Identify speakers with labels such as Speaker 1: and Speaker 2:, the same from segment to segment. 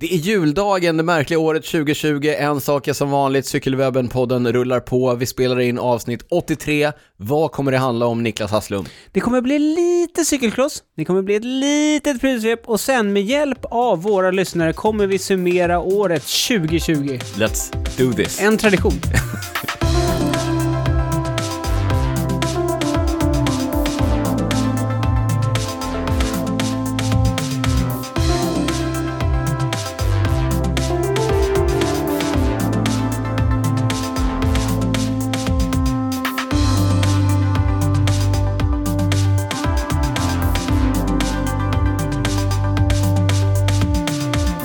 Speaker 1: Det är juldagen, det märkliga året 2020. En sak är som vanligt, Cykelwebben-podden rullar på. Vi spelar in avsnitt 83. Vad kommer det handla om, Niklas Hasslum?
Speaker 2: Det kommer bli lite cykelkloss, det kommer bli ett litet prylsvep och sen med hjälp av våra lyssnare kommer vi summera året 2020.
Speaker 1: Let's do this.
Speaker 2: En tradition.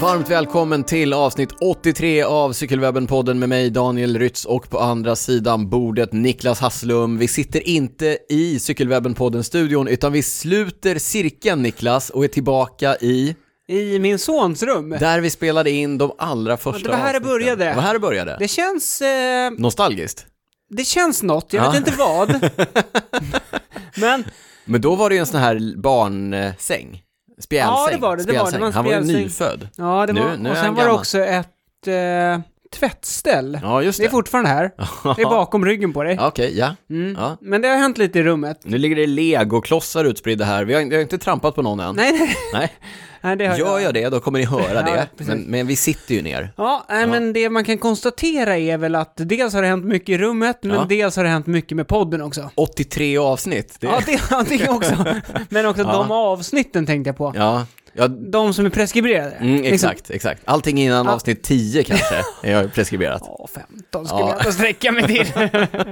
Speaker 1: Varmt välkommen till avsnitt 83 av Cykelwebben-podden med mig Daniel Rytz och på andra sidan bordet Niklas Hasslum. Vi sitter inte i Cykelwebben-podden-studion utan vi sluter cirkeln Niklas och är tillbaka i
Speaker 2: I min sons rum.
Speaker 1: där vi spelade in de allra första
Speaker 2: det var här det
Speaker 1: avsnitten.
Speaker 2: började.
Speaker 1: Det var här det började.
Speaker 2: Det känns... Eh,
Speaker 1: Nostalgiskt.
Speaker 2: det känns något, jag
Speaker 1: Ja.
Speaker 2: vet inte vad. Men
Speaker 1: Men då var det ju en sån här barnsäng. Spjälsäng.
Speaker 2: Ja, det var det, det var det. Det
Speaker 1: Spjälsäng.
Speaker 2: var en
Speaker 1: Han var ju
Speaker 2: spjälsäng.
Speaker 1: nyfödd.
Speaker 2: ja, det
Speaker 1: Nu-
Speaker 2: var...
Speaker 1: nu är
Speaker 2: och
Speaker 1: han
Speaker 2: sen var det
Speaker 1: gammal.
Speaker 2: också ett eh, tvättställ.
Speaker 1: Ja, just
Speaker 2: Det är
Speaker 1: det.
Speaker 2: fortfarande här. Det är bakom ryggen på dig.
Speaker 1: Ja, Okej, ja.
Speaker 2: Mm.
Speaker 1: ja.
Speaker 2: Men det har hänt lite i rummet.
Speaker 1: Nu ligger det legoklossar utspridda här. Vi har, vi har inte trampat på någon än.
Speaker 2: Nej, nej,
Speaker 1: Nej.
Speaker 2: nej det har
Speaker 1: Gör jag det, då kommer ni höra det.
Speaker 2: precis.
Speaker 1: Men, men vi sitter ju ner.
Speaker 2: Ja, nej, men det man kan konstatera är väl att dels har det hänt mycket i rummet, men
Speaker 1: Ja.
Speaker 2: dels har det hänt mycket med podden också.
Speaker 1: 83 avsnitt. Det...
Speaker 2: Ja, det, ja, det också. Men också de avsnitten tänkte jag på.
Speaker 1: ja. ja.
Speaker 2: De som är preskriberade.
Speaker 1: Mm,
Speaker 2: Liksom,
Speaker 1: exakt, exakt. Allting innan avsnitt 10 kanske är jag preskriberat.
Speaker 2: Ja, 15 skulle
Speaker 1: Ja.
Speaker 2: jag ändå sträcka mig till.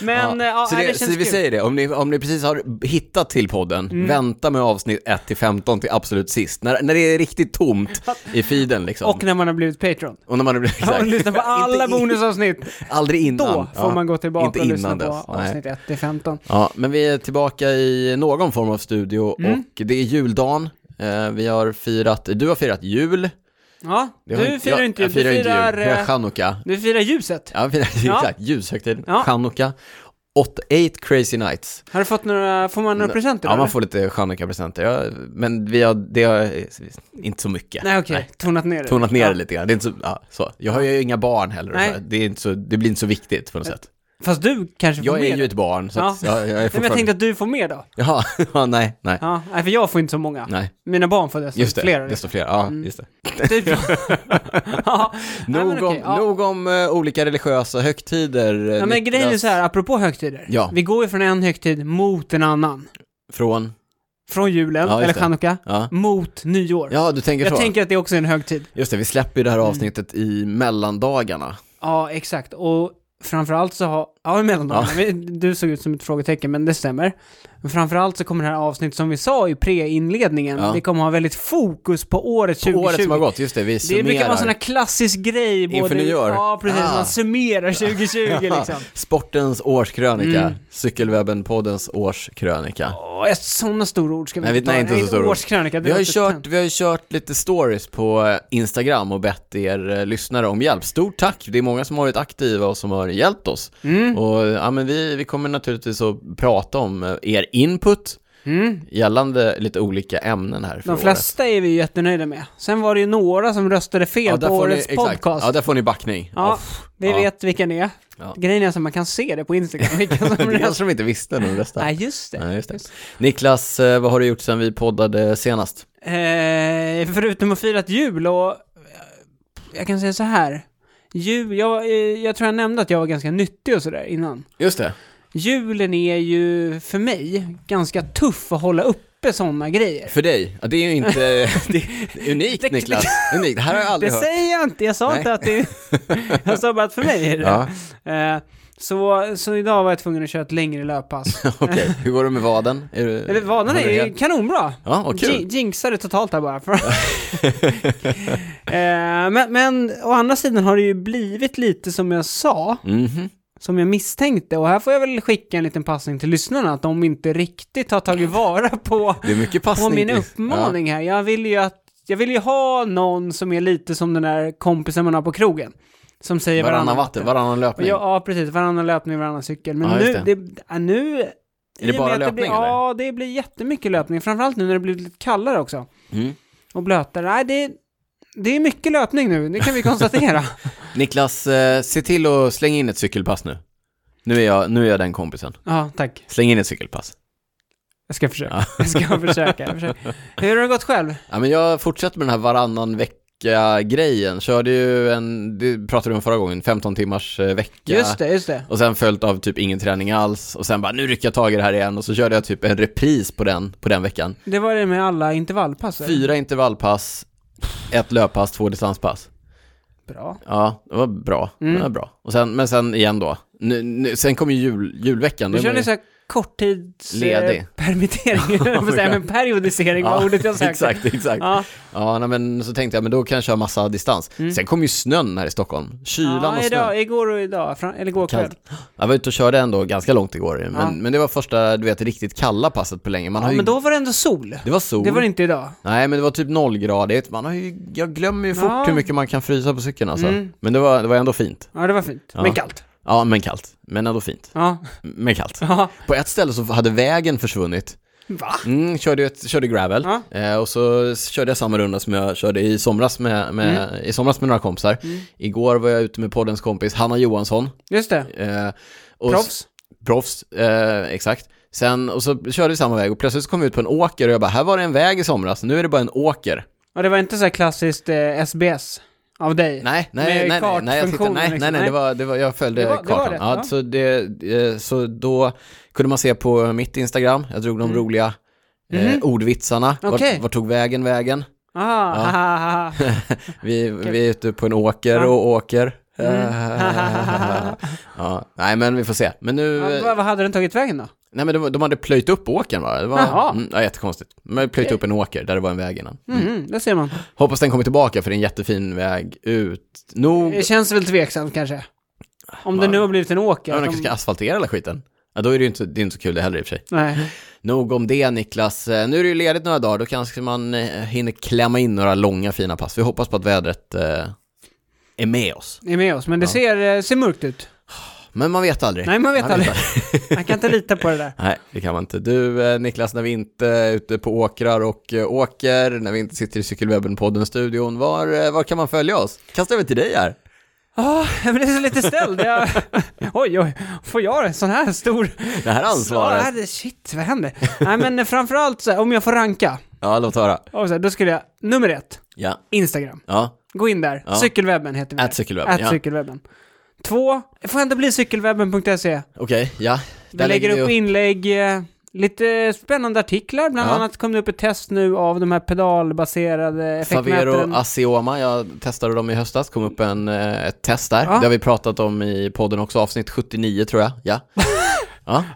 Speaker 2: men ja. Ja,
Speaker 1: så
Speaker 2: nej,
Speaker 1: det,
Speaker 2: det
Speaker 1: så
Speaker 2: känns
Speaker 1: vi
Speaker 2: kul. Mm.
Speaker 1: säger det, om ni, om ni precis har hittat till podden, vänta med avsnitt 1 till 15 till absolut sist. När, när det är riktigt tomt i feeden liksom.
Speaker 2: Och när man har blivit Patreon.
Speaker 1: Och när man blir
Speaker 2: Ja, och lyssna på alla
Speaker 1: Inte i-
Speaker 2: bonusavsnitt.
Speaker 1: Aldrig innan.
Speaker 2: Då får man gå tillbaka
Speaker 1: inte
Speaker 2: och lyssna
Speaker 1: innan
Speaker 2: på
Speaker 1: dess, nej.
Speaker 2: avsnitt 1 till 15.
Speaker 1: Ja, men vi är tillbaka i någon form av studio
Speaker 2: Mm.
Speaker 1: och det är juldagen. Eh, Vi har firat, du har firat jul.
Speaker 2: Ja,
Speaker 1: Det har
Speaker 2: du firar
Speaker 1: jag,
Speaker 2: inte
Speaker 1: jag firar
Speaker 2: du
Speaker 1: inte
Speaker 2: firar,
Speaker 1: jul. Jag firar
Speaker 2: eh,
Speaker 1: chanukka.
Speaker 2: du firar ljuset.
Speaker 1: Ja, jag firar,
Speaker 2: Ja.
Speaker 1: exakt, ljushögtiden,
Speaker 2: Ja.
Speaker 1: chanukka. Åt- Eight crazy nights.
Speaker 2: Har du fått några, får man några presenter?
Speaker 1: Ja,
Speaker 2: eller?
Speaker 1: man får lite chanukka-presenter. Ja, men vi har, det har inte så mycket.
Speaker 2: Nej okej, tonat ner det.
Speaker 1: Tonat ner
Speaker 2: Ja.
Speaker 1: det lite grann. Det är inte så, ja, så. Jag har ju inga barn heller. och
Speaker 2: Nej.
Speaker 1: så här. Det, är inte så, det blir inte så viktigt på något sätt.
Speaker 2: Fast du kanske får
Speaker 1: Jag
Speaker 2: mer?
Speaker 1: är ju ett barn, så att,
Speaker 2: Ja.
Speaker 1: ja. jag, jag är
Speaker 2: Nej, men jag
Speaker 1: fortfarande...
Speaker 2: tänkte att du får mer då.
Speaker 1: Jaha, ja, nej, nej,
Speaker 2: Ja, nej, för jag får inte så många.
Speaker 1: nej.
Speaker 2: Mina barn får desto
Speaker 1: Just det,
Speaker 2: flera.
Speaker 1: desto fler. Ja, just det. Eh,
Speaker 2: liksom. Typ. ja. Nej,
Speaker 1: Nog
Speaker 2: men
Speaker 1: om,
Speaker 2: okej, ja.
Speaker 1: nog om eh, olika religiösa högtider. eh,
Speaker 2: Ja, men grejen är
Speaker 1: Niklas,
Speaker 2: så här, apropå högtider.
Speaker 1: Ja.
Speaker 2: Vi går ju från en högtid mot en annan.
Speaker 1: Från?
Speaker 2: Från julen,
Speaker 1: Ja, just
Speaker 2: eller
Speaker 1: det.
Speaker 2: chanukka,
Speaker 1: Ja.
Speaker 2: mot nyår.
Speaker 1: ja, du tänker
Speaker 2: jag
Speaker 1: så.
Speaker 2: tänker Mm. att det också är en högtid.
Speaker 1: Just det, vi släpper ju det här avsnittet i mellandagarna.
Speaker 2: Ja, exakt. Och framförallt så har... Ja, emellandagarna. Men Du såg ut som ett frågetecken, men det stämmer. Men framförallt så kommer det här avsnittet som vi sa i pre-inledningen,
Speaker 1: Ja.
Speaker 2: det kommer ha väldigt fokus på året
Speaker 1: På
Speaker 2: 2020.
Speaker 1: året som har gått, just det, vi
Speaker 2: Det brukar vara
Speaker 1: summerar.
Speaker 2: sån här klassisk grej.
Speaker 1: Inför
Speaker 2: både-
Speaker 1: nyår.
Speaker 2: Ja, precis.
Speaker 1: Ah.
Speaker 2: Man summerar 2020 liksom. Mm.
Speaker 1: Sportens årskrönika, Cykelwebben-poddens årskrönika.
Speaker 2: Åh, ett sådana stora ord ska vi
Speaker 1: Nej, vi-
Speaker 2: inte ta.
Speaker 1: nej, inte så stora ord.
Speaker 2: Årskrönika, det
Speaker 1: Vi har, ju
Speaker 2: låter
Speaker 1: kört,
Speaker 2: tönt.
Speaker 1: vi har ju kört lite stories på eh, Instagram och bett er eh, lyssnare om hjälp. Stort tack! Det är många som har varit aktiva och som har hjälpt oss.
Speaker 2: Mm.
Speaker 1: Och eh, ja, men vi, vi kommer naturligtvis att prata om eh, er input gällande lite olika ämnen här. för
Speaker 2: De
Speaker 1: året.
Speaker 2: Mm, flesta är vi ju jätnöjda med. Sen var det ju några som röstade fel
Speaker 1: ja, där
Speaker 2: på
Speaker 1: får ni,
Speaker 2: årets
Speaker 1: exakt,
Speaker 2: podcast.
Speaker 1: ja, där får ni backning.
Speaker 2: Ja,
Speaker 1: Uff,
Speaker 2: vi
Speaker 1: ja.
Speaker 2: vet vilka ni är.
Speaker 1: Ja.
Speaker 2: Grejen är att man kan se det på Instagram, vilka som
Speaker 1: Det
Speaker 2: röstade.
Speaker 1: kanske de inte visste när de röstade.
Speaker 2: Nej, just det.
Speaker 1: Nej, just det. Niklas, eh, vad har du gjort sedan vi poddade senast?
Speaker 2: Eh, förutom att fira ett jul och... eh, Jag kan säga så här. Jul, jag, eh, jag tror jag nämnde att jag var ganska nyttig och sådär innan.
Speaker 1: Just det.
Speaker 2: Julen är ju för mig ganska tuff att hålla uppe sådana grejer.
Speaker 1: För dig? Ja, det är ju inte... det är unikt
Speaker 2: Det-
Speaker 1: Niklas. Unikt. Det här har jag
Speaker 2: Det
Speaker 1: aldrig hört.
Speaker 2: säger jag inte, jag sa
Speaker 1: Nej.
Speaker 2: inte att det Jag sa bara att för mig är det
Speaker 1: Ja,
Speaker 2: Eh, så, så idag var jag tvungen att köra ett längre löppass.
Speaker 1: okej. Hur går det med vaden? Är du-
Speaker 2: Eller vanorna
Speaker 1: har du
Speaker 2: är ju
Speaker 1: helt-
Speaker 2: kanonbra.
Speaker 1: Ja, vad kul.
Speaker 2: Jin- Jinxade totalt här bara. eh, men, men å andra sidan har det ju blivit lite som jag sa,
Speaker 1: Mhm.
Speaker 2: som jag misstänkte. Och här får jag väl skicka en liten passning till lyssnarna att de inte riktigt har tagit vara på,
Speaker 1: Det är mycket passning.
Speaker 2: på min
Speaker 1: till-
Speaker 2: uppmaning här. Jag vill ju att jag vill ju ha någon som är lite som den där kompisen man har på krogen. Som säger
Speaker 1: Ja. Varannan
Speaker 2: varannan
Speaker 1: vatten, varannan
Speaker 2: och
Speaker 1: löpning.
Speaker 2: Ja, ja, precis. Varannan löpning, varannan cykel. Men
Speaker 1: Ja,
Speaker 2: nu,
Speaker 1: just
Speaker 2: det. ja, nu... i och med
Speaker 1: bara
Speaker 2: att
Speaker 1: löpning,
Speaker 2: blir,
Speaker 1: eller?
Speaker 2: Ja, det blir jättemycket löpning. Framförallt nu när det blir lite kallare också.
Speaker 1: Mm.
Speaker 2: Och blötare. Nej, det... det är mycket löpning nu, det kan vi konstatera.
Speaker 1: Niklas, eh, se till att slänga in ett cykelpass nu. Nu är, jag, nu är jag den kompisen.
Speaker 2: ja, tack.
Speaker 1: Släng in ett cykelpass.
Speaker 2: Jag ska försöka. Jag ska försöka. Jag försöker. Hur har det gått själv?
Speaker 1: Ja, men jag fortsätter med den här varannan vecka-grejen. Körde ju en, det pratade du om förra gången, 15 timmars eh, vecka.
Speaker 2: Just det, just det.
Speaker 1: Och sen följt av typ ingen träning alls. Och sen bara, nu rycker jag tag i det här igen. Och så körde jag typ en repris på den, på den veckan.
Speaker 2: Det var det med alla intervallpass. eller?
Speaker 1: Fyra intervallpass, ett löppass, två distanspass.
Speaker 2: Bra.
Speaker 1: Ja, det var bra.
Speaker 2: Mm.
Speaker 1: Det var bra. Och sen, men sen igen då. Nu, nu, sen kom ju jul, julveckan.
Speaker 2: Du
Speaker 1: Det var
Speaker 2: körde
Speaker 1: ju-
Speaker 2: så här korttids... eh,
Speaker 1: Ledig.
Speaker 2: Permittering, jag höll på att säga, men periodisering var ordet jag sökte.
Speaker 1: Exakt, exakt. Ja,
Speaker 2: Ja,
Speaker 1: nej, men så tänkte jag, men då kan jag köra massa distans. Sen kom ju snön här i Stockholm. Kylan
Speaker 2: Mm. ja
Speaker 1: och snön.
Speaker 2: idag, igår och idag, fram, eller igår kväll.
Speaker 1: Kallt. Jag var ute och körde ändå ganska långt igår, men,
Speaker 2: Ja.
Speaker 1: men det var första, du vet, riktigt kalla passet på länge. Man har
Speaker 2: Ja,
Speaker 1: ju,
Speaker 2: men då var det ändå sol.
Speaker 1: Det var sol.
Speaker 2: Det var det inte idag.
Speaker 1: Nej, men det var typ nollgradigt. Man har ju, jag glömmer ju fort
Speaker 2: Ja.
Speaker 1: hur mycket man kan frysa på cykeln alltså.
Speaker 2: Mm.
Speaker 1: Men det var, det var ändå fint.
Speaker 2: Ja, det var fint.
Speaker 1: Ja.
Speaker 2: Men kallt.
Speaker 1: Ja, men kallt. Men ändå fint.
Speaker 2: Ja.
Speaker 1: Men kallt.
Speaker 2: ja.
Speaker 1: På ett ställe så hade vägen försvunnit.
Speaker 2: Va?
Speaker 1: Mm, körde, ju ett, körde gravel
Speaker 2: Ja.
Speaker 1: eh, och så körde jag samma runda som jag körde i somras med, med,
Speaker 2: Mm.
Speaker 1: i somras med några kompisar. Igår var jag ute med poddens kompis Hanna Johansson.
Speaker 2: Just det.
Speaker 1: Eh, och
Speaker 2: Proffs.
Speaker 1: Proffs, eh, exakt. Sen, och så körde vi samma väg och plötsligt så kom vi ut på en åker och jag bara, här var det en väg i somras, nu är det bara en åker.
Speaker 2: Ja, det var inte så här klassiskt eh, SBS av dig.
Speaker 1: Nej, nej,
Speaker 2: Med
Speaker 1: nej, nej, nej, jag tittade,
Speaker 2: kartfunktionen,
Speaker 1: nej, nej,
Speaker 2: liksom.
Speaker 1: nej, det var, det var, jag följde
Speaker 2: Det var- det var
Speaker 1: kartan.
Speaker 2: det,
Speaker 1: ja,
Speaker 2: ja.
Speaker 1: Så, det, eh, så då kunde man se på mitt Instagram, jag drog de roliga eh, ordvitsarna,
Speaker 2: Mm. Mhm. Okej.
Speaker 1: vart, vart tog vägen vägen?
Speaker 2: Ah, ha, ha, ha, ha.
Speaker 1: Vi, vi är ute på en åker och åker.
Speaker 2: Mm.
Speaker 1: ja, nej, men vi får se. Men nu,
Speaker 2: Ja, vad, vad hade den tagit vägen då?
Speaker 1: Nej men de, de hade plöjt upp åkern va? Det var,
Speaker 2: Jaha.
Speaker 1: Mm, ja, jättekonstigt. De hade plöjt upp en åker där det var en väg innan.
Speaker 2: Mm, det ser man.
Speaker 1: Hoppas den kommer tillbaka för det är en jättefin väg ut. Nog...
Speaker 2: Det känns väl tveksamt kanske. Om det nu har blivit en åker.
Speaker 1: Ja, de
Speaker 2: att
Speaker 1: kanske ska asfaltera hela skiten. Ja, då är det ju inte, det är inte så kul det heller i och för sig.
Speaker 2: Nej.
Speaker 1: Nog om det Niklas. Eh, Nu är det ju ledigt några dagar, då kanske man eh, hinner klämma in några långa fina pass. Vi hoppas på att vädret eh, är med oss.
Speaker 2: Ni är med oss, men det ser, eh, ser mörkt ut.
Speaker 1: Men man vet aldrig.
Speaker 2: Nej, man vet aldrig. Man kan inte lita på det där.
Speaker 1: Nej, det kan man inte. Du eh, Niklas, när vi inte är ute på åkrar och eh, åker, när vi inte sitter i Cykelwebben-podden-studion, var, eh, var kan man följa oss? Kasta över till dig här.
Speaker 2: Ja, jag blev så lite ställd. Jag... Oj, oj, får jag en sån här stor...
Speaker 1: Det här
Speaker 2: Ja,
Speaker 1: ansvaret.
Speaker 2: det- Shit, vad händer? Nej, men framförallt så här, om jag får ranka,
Speaker 1: Ja, låt höra.
Speaker 2: och så här, då skulle jag... Nummer ett,
Speaker 1: Ja,
Speaker 2: Instagram.
Speaker 1: ja.
Speaker 2: Gå in där.
Speaker 1: Ja.
Speaker 2: Cykelwebben heter vi.
Speaker 1: At cykelwebben,
Speaker 2: At
Speaker 1: ja.
Speaker 2: cykelwebben. Två, det får ändå bli cykelwebben.se.
Speaker 1: Okej, ja.
Speaker 2: Vi lägger upp
Speaker 1: ju-
Speaker 2: inlägg, eh, lite spännande artiklar. Bland
Speaker 1: Ja.
Speaker 2: annat kom det upp ett test nu av de här pedalbaserade
Speaker 1: Favero
Speaker 2: effektmätaren.
Speaker 1: Asioma, jag testade dem i höstas, kom upp en, eh, ett test där.
Speaker 2: Ja.
Speaker 1: Det har vi pratat om i podden också, avsnitt 79 tror jag. Ja.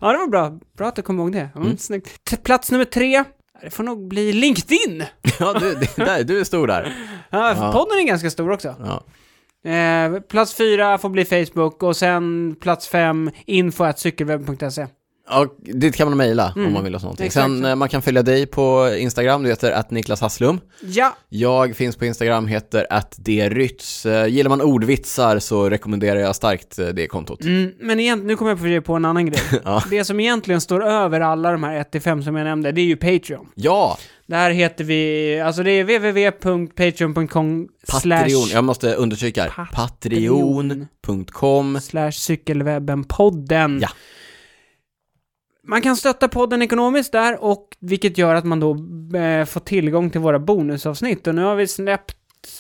Speaker 2: Ja, det var bra. Bra att du kom ihåg det. Mm, snyggt. T- Plats nummer tre. Det får nog bli LinkedIn.
Speaker 1: Ja, du, det, där, du är stor där.
Speaker 2: Ja, för Podden är ganska stor också.
Speaker 1: Ja.
Speaker 2: Eh, plats fyra får bli Facebook och sen plats fem info at cykelwebben.se.
Speaker 1: Och dit kan man mejla
Speaker 2: Mm.
Speaker 1: om man vill ha någonting.
Speaker 2: exakt.
Speaker 1: Sen eh, man kan följa dig på Instagram, du heter att Niklas Hasslum.
Speaker 2: Ja,
Speaker 1: Jag finns på Instagram, heter att Eh, Gillar man ordvitsar så rekommenderar jag starkt eh, det kontot.
Speaker 2: mm, men egent- nu kommer jag på- på en annan grej.
Speaker 1: Ja.
Speaker 2: Det som egentligen står över alla de här 1-5 som jag nämnde, det är ju Patreon.
Speaker 1: Ja,
Speaker 2: Där heter vi, alltså det är www.patreon.com
Speaker 1: Patreon.
Speaker 2: slash
Speaker 1: Jag måste understryka här.
Speaker 2: Patreon.
Speaker 1: Patreon.com.
Speaker 2: slash cykelwebben-podden.
Speaker 1: Ja.
Speaker 2: Man kan stötta podden ekonomiskt där, och vilket gör att man då eh, får tillgång till våra bonusavsnitt. Och nu har vi släppt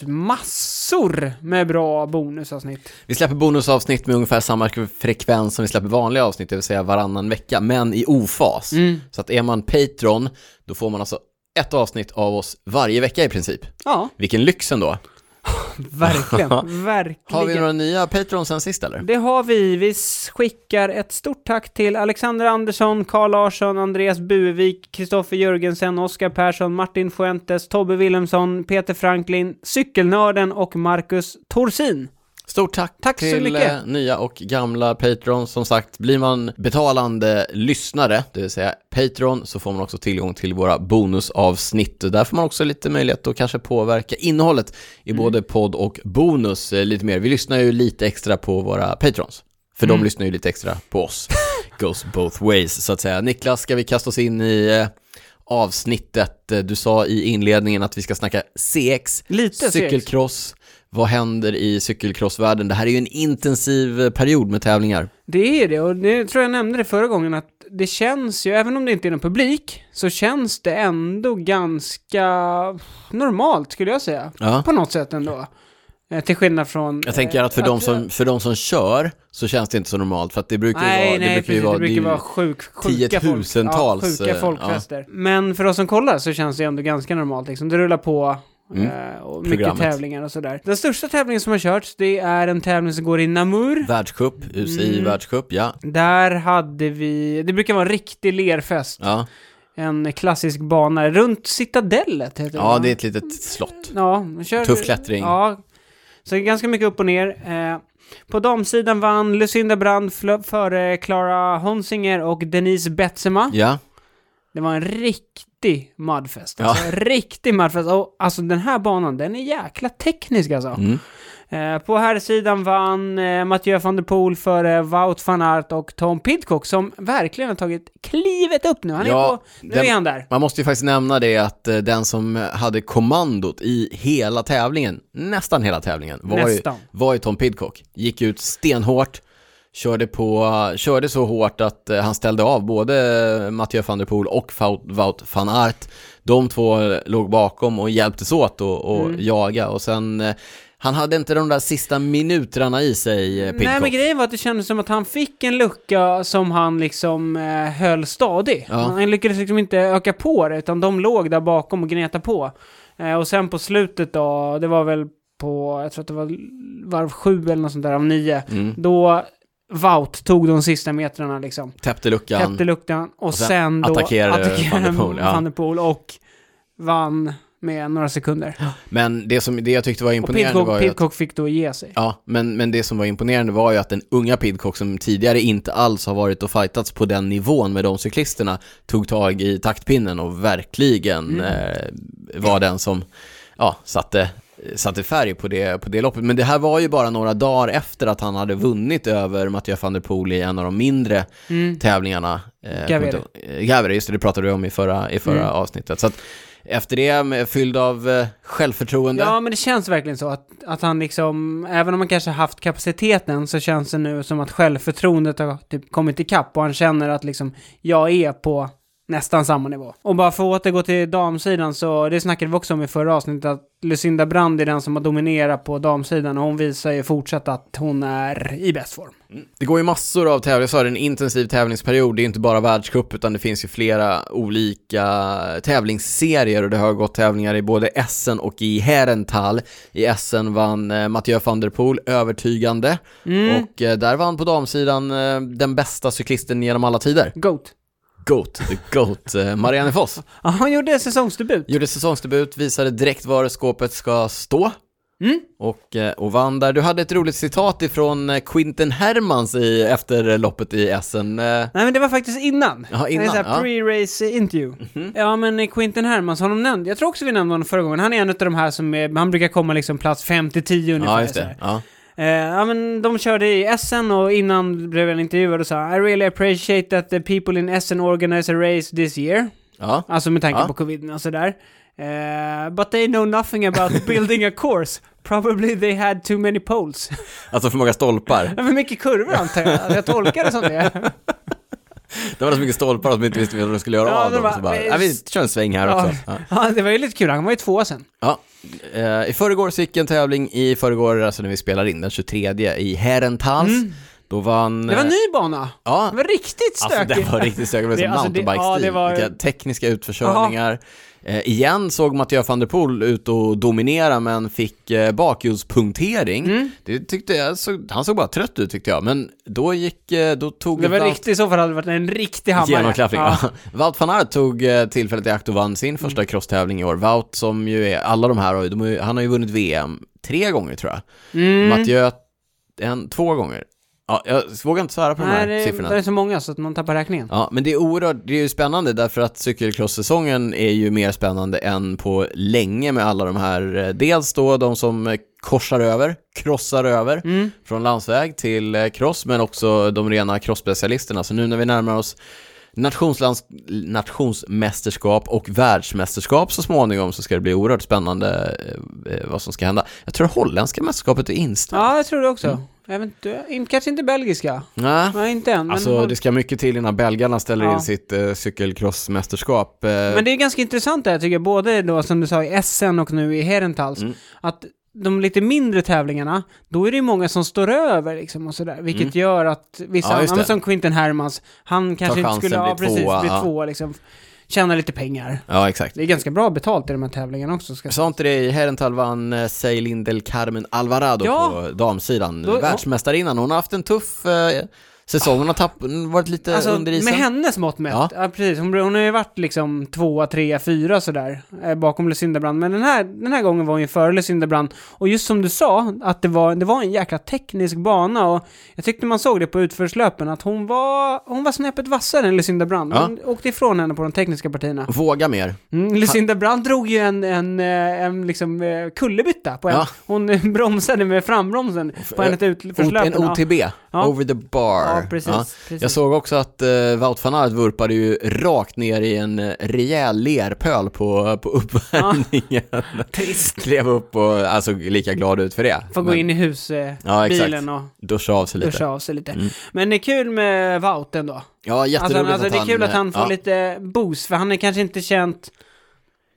Speaker 2: massor med bra bonusavsnitt.
Speaker 1: Vi släpper bonusavsnitt med ungefär samma frekvens som vi släpper vanliga avsnitt, det vill säga varannan vecka, men i ofas. Så att är man Patreon, då får man alltså ett avsnitt av oss varje vecka i princip.
Speaker 2: Ja,
Speaker 1: Vilken lyx ändå.
Speaker 2: verkligen,
Speaker 1: Har vi
Speaker 2: verkligen.
Speaker 1: några nya Patreon sen sist eller?
Speaker 2: Det har vi. Vi skickar ett stort tack till Alexander Andersson, Karl Larsson, Andreas Buevik, Kristoffer Jörgensen, Oskar Persson, Martin Fuentes, Tobbe Wilhelmsson, Peter Franklin, Cykelnörden och Marcus Torsin.
Speaker 1: Stort tack,
Speaker 2: Tack så
Speaker 1: till
Speaker 2: mycket.
Speaker 1: eh, nya och gamla Patreon. Som sagt, blir man betalande lyssnare, det vill säga Patreon, så får man också tillgång till våra bonusavsnitt. Och Där får man också lite möjlighet att kanske påverka innehållet i
Speaker 2: Mm.
Speaker 1: både podd och bonus eh, lite mer. Vi lyssnar ju lite extra på våra Patrons, för
Speaker 2: Mm.
Speaker 1: de lyssnar ju lite extra på oss. Goes both ways, så att säga. Niklas, ska vi kasta oss in i eh, avsnittet. Eh, Du sa i inledningen att vi ska snacka CX,
Speaker 2: Lite CX.
Speaker 1: cykelcross. Vad händer i cykelcrossvärlden? Det här är ju en intensiv eh, period med tävlingar.
Speaker 2: Det är det, och det tror jag nämnde det förra gången att det känns ju, även om det inte är någon publik, så känns det ändå ganska normalt skulle jag säga.
Speaker 1: Ja.
Speaker 2: På något sätt ändå. Eh, till skillnad från...
Speaker 1: Jag tänker
Speaker 2: eh,
Speaker 1: att för de, som, för de som kör så känns det inte så normalt för att det brukar ju
Speaker 2: Nej,
Speaker 1: vara...
Speaker 2: nej,
Speaker 1: ju
Speaker 2: precis. det
Speaker 1: är ju-
Speaker 2: brukar vara sjuk, sjuka, folk, ja,
Speaker 1: tiotusentals,
Speaker 2: sjuka
Speaker 1: eh,
Speaker 2: folkfester. Men för oss som kollar så känns det ändå ganska normalt. Liksom. Det rullar på
Speaker 1: Mm.
Speaker 2: eh, och mycket
Speaker 1: Programmet.
Speaker 2: tävlingar och sådär. Den största tävlingen som har körts, det är en tävling som går i Namur.
Speaker 1: Världscup, UCI
Speaker 2: Mm.
Speaker 1: världscup, ja.
Speaker 2: Där hade vi, det brukar vara en riktig lerfest.
Speaker 1: Ja.
Speaker 2: En klassisk bana runt Citadellet heter
Speaker 1: ja,
Speaker 2: va?
Speaker 1: det är ett litet slott.
Speaker 2: Ja, man kör...
Speaker 1: Tuff klättring.
Speaker 2: Ja. Så det är ganska mycket upp och ner. Eh, på damsidan vann Lucinda Brand fl- före Clara Honsinger och Denise Betsema.
Speaker 1: Ja,
Speaker 2: Det var en riktig mudfest.
Speaker 1: Ja.
Speaker 2: Alltså, en riktig mudfest. Och, alltså den här banan, den är jäkla teknisk alltså.
Speaker 1: mm.
Speaker 2: Eh, på här sidan vann eh, Mathieu van der Poel före Wout van Aert och Tom Pidcock som verkligen har tagit klivet upp nu. Han är
Speaker 1: Ja,
Speaker 2: på, nu
Speaker 1: den-
Speaker 2: är han där.
Speaker 1: man måste ju faktiskt nämna det att eh, den som hade kommandot i hela tävlingen, nästan hela tävlingen, var, ju,
Speaker 2: Nästan.
Speaker 1: var ju Tom Pidcock. Gick ut stenhårt, körde, på, körde så hårt att eh, han ställde av både Mathieu van der Poel och Faut- Wout van Aert. De två eh, låg bakom och hjälptes åt och, och
Speaker 2: Mm.
Speaker 1: jaga och sen eh, han hade inte de där sista minuterna i sig, eh, Pidcock.
Speaker 2: Nej men grejen var att det kändes som att han fick en lucka som han liksom eh, höll stadig.
Speaker 1: Ja.
Speaker 2: Han lyckades liksom inte öka på det utan de låg där bakom och gnetade på. Eh, och sen på slutet då, det var väl på, jag tror att det var varv sju eller något sånt där av nio.
Speaker 1: Mm.
Speaker 2: Då Wout tog de sista metrarna liksom.
Speaker 1: Täppte luckan.
Speaker 2: Täppte luckan och,
Speaker 1: sen
Speaker 2: sen, då
Speaker 1: attackerade van der Poel, ja.
Speaker 2: van der Poel och vann med några sekunder.
Speaker 1: Men det, som, det jag tyckte var
Speaker 2: Och
Speaker 1: imponerande
Speaker 2: Pidcock,
Speaker 1: var ju att,
Speaker 2: Pidcock fick då ge sig.
Speaker 1: Ja, men, men det som var imponerande var ju att den unga Pidcock som tidigare inte alls har varit och fightats på den nivån med de cyklisterna tog tag i taktpinnen och verkligen
Speaker 2: Mm.
Speaker 1: eh, var den som ja, satte, satte färg på det, på det loppet. Men det här var ju bara några dagar efter att han hade vunnit över Mathieu van der Poel i en av de mindre
Speaker 2: Mm.
Speaker 1: tävlingarna. Eh,
Speaker 2: Gavere.
Speaker 1: kommer inte ihåg. Eh, Gavere, just det, det pratade vi om i förra, i förra
Speaker 2: Mm.
Speaker 1: avsnittet. Så att efter det, med- fylld av eh, självförtroende.
Speaker 2: Ja, men det känns verkligen så att, att han liksom, även om han kanske haft kapaciteten så känns det nu som att självförtroendet har typ kommit ikapp och han känner att liksom, jag är på nästan samma nivå. Och bara för att återgå till damsidan så, det snackade vi också om i förra avsnittet, att Lucinda Brand är den som har dominerat på damsidan och hon visar ju fortsatt att hon är i bäst form.
Speaker 1: Det går ju massor av tävlingar, jag sa det, en intensiv tävlingsperiod. Det är inte bara världscup utan det finns ju flera olika tävlingsserier och det har gått tävlingar i både Essen och i Herentals. I Essen vann eh, Mathieu van der Poel övertygande
Speaker 2: Mm.
Speaker 1: och eh, där vann på damsidan eh, den bästa cyklisten genom alla tider.
Speaker 2: Goat.
Speaker 1: Goat, the Goat, eh, Marianne Foss.
Speaker 2: Ja, han gjorde säsongsdebut.
Speaker 1: Gjorde säsongsdebut, visade direkt var skåpet ska stå.
Speaker 2: Mm.
Speaker 1: Och, eh, och vann där. Du hade ett roligt citat ifrån eh, Quinten Hermans i, efter eh, loppet i Essen. Eh,
Speaker 2: Nej men det var faktiskt innan.
Speaker 1: Ja, innan,
Speaker 2: det är så här
Speaker 1: ja. Mhm.
Speaker 2: pre-race interview. Ja men eh, Quinton Hermans, honom nämnde, jag tror också vi nämnde honom förra gången, han är en av de här som är, han brukar komma liksom plats 5-10 ungefär.
Speaker 1: Ja, just
Speaker 2: så här.
Speaker 1: det. Ja.
Speaker 2: Eh, ja men de körde i Essen och innan blev jag intervjuad och sa I really appreciate that the people in Essen organize a race this year.
Speaker 1: Ja.
Speaker 2: Alltså med tanke
Speaker 1: Ja.
Speaker 2: på covid och sådär. Eh, but they know nothing about building a course. Probably they had too many poles.
Speaker 1: Alltså för många stolpar.
Speaker 2: Men för mycket kurvor antar jag. Jag tolkar det som det.
Speaker 1: Det var så mycket stolpar att de inte visste vad de skulle göra
Speaker 2: Ja,
Speaker 1: av
Speaker 2: det
Speaker 1: dem.
Speaker 2: var-
Speaker 1: Så bara, ja, vi kör en sväng här
Speaker 2: Ja.
Speaker 1: också. Ja.
Speaker 2: Ja, det var ju lite kul. Han var ju tvåa sen.
Speaker 1: Ja. Eh, I förrgår så gick en tävling i förrgår, alltså när vi spelar in, den 23 i Herentals. Då vann...
Speaker 2: Mm. Det var en
Speaker 1: eh,
Speaker 2: ny bana.
Speaker 1: Ja,
Speaker 2: Det var riktigt
Speaker 1: Alltså
Speaker 2: stökigt.
Speaker 1: det var riktigt stökigt, det var
Speaker 2: Det-
Speaker 1: som
Speaker 2: alltså, det-
Speaker 1: mountainbike-stil.
Speaker 2: ja, det var-
Speaker 1: Vilka tekniska utförsäljningar. Eh, igen såg Mathieu van der Poel ut och dominera men fick eh, bakhjulspunktering.
Speaker 2: Mm.
Speaker 1: Det tyckte jag, så, han såg bara trött ut tyckte jag, men då gick, eh, då tog
Speaker 2: Det var
Speaker 1: Wout-
Speaker 2: riktigt, i så fall hade det varit en riktig hammare.
Speaker 1: Genomklappning,
Speaker 2: Ja. Mm.
Speaker 1: ja. Wout van Aert tog eh, tillfället i akt och vann sin första crosstävling i år. Wout som ju är, alla de här har ju, de har ju, han har ju vunnit VM tre gånger tror jag.
Speaker 2: Mm.
Speaker 1: Mathieu, en, två gånger. Ja, jag vågar inte svära på de
Speaker 2: Nej,
Speaker 1: här
Speaker 2: det,
Speaker 1: siffrorna.
Speaker 2: det är så många så att man tappar räkningen.
Speaker 1: Ja, men det är oerhört, det är ju spännande därför att cykelcross-säsongen är ju mer spännande än på länge med alla de här, eh, dels då de som eh, korsar över, krossar över
Speaker 2: Mm.
Speaker 1: från landsväg till eh, cross, men också de rena crossspecialisterna. Så nu när vi närmar oss nationslands, nationsmästerskap och världsmästerskap så småningom så ska det bli oerhört spännande eh, vad som ska hända. Jag tror det holländska mästerskapet är inställt.
Speaker 2: Ja, jag tror det
Speaker 1: Mm.
Speaker 2: också. Eventu- in- kanske inte belgiska.
Speaker 1: Nej.
Speaker 2: Nej, inte än. Men,
Speaker 1: Alltså det ska mycket till innan belgarna ställer
Speaker 2: Ja.
Speaker 1: in sitt eh, cykelcrossmästerskap. Eh,
Speaker 2: men det är ganska intressant det här tycker jag, både då som du sa i SN och nu i Herentals,
Speaker 1: Mm.
Speaker 2: att de lite mindre tävlingarna, då är det ju många som står över liksom och sådär, vilket
Speaker 1: Mm.
Speaker 2: gör att vissa,
Speaker 1: Ja, just
Speaker 2: ja, men
Speaker 1: det.
Speaker 2: som Quinten Hermans, han kanske inte
Speaker 1: chansen,
Speaker 2: skulle, ja
Speaker 1: bli
Speaker 2: precis,
Speaker 1: tvåa,
Speaker 2: bli
Speaker 1: ja.
Speaker 2: tvåa liksom, tjäna lite pengar.
Speaker 1: Ja, exakt.
Speaker 2: Det är ganska bra betalt i de här tävlingarna också. Ska... jag
Speaker 1: Sa inte det i Herrental vann eh, Ceylin del Carmen Alvarado
Speaker 2: Ja.
Speaker 1: på damsidan,
Speaker 2: Då-
Speaker 1: världsmästarinnan. Hon har haft en tuff eh, säsong, hon har tapp, varit lite
Speaker 2: Alltså,
Speaker 1: under isen.
Speaker 2: med hennes mått mätt. Ja.
Speaker 1: Ja.
Speaker 2: precis. Hon, hon har ju varit liksom tvåa, trea, fyra sådär eh, bakom Lucindabrand. Men den här, den här gången var hon ju före Lucindabrand. Och just som du sa, att det var, det var en jäkla teknisk bana och jag tyckte man såg det på utförslöpen att hon var, hon var snäppet vassare än Lucindabrand.
Speaker 1: Ja.
Speaker 2: Hon åkte ifrån henne på de tekniska partierna.
Speaker 1: Våga mer.
Speaker 2: Mm, Lucinda Brandt drog ju en, en, eh, en liksom eh, kullerbytta på en.
Speaker 1: Ja. eh,
Speaker 2: Hon eh, bromsade med frambromsen på en ett utförslöpen.
Speaker 1: En OTB,
Speaker 2: Ja.
Speaker 1: over the bar.
Speaker 2: Ja, precis.
Speaker 1: Ja.
Speaker 2: precis.
Speaker 1: Jag såg också att uh, Wout van Aert vurpade ju rakt ner i en eh, rejäl lerpöl på, på uppvärmningen.
Speaker 2: Trist.
Speaker 1: Klev upp och eh, såg lika glad ut för det.
Speaker 2: Får gå
Speaker 1: Men-
Speaker 2: in i husbilen
Speaker 1: Ja, exakt.
Speaker 2: och
Speaker 1: Duscha av sig lite.
Speaker 2: duscha av sig lite.
Speaker 1: Mm.
Speaker 2: Men det är kul med Wout ändå.
Speaker 1: Ja, jätteroligt
Speaker 2: Alltså, alltså,
Speaker 1: att
Speaker 2: det är
Speaker 1: han...
Speaker 2: kul att han
Speaker 1: eh,
Speaker 2: får
Speaker 1: ja.
Speaker 2: lite boost, för han är kanske inte känt...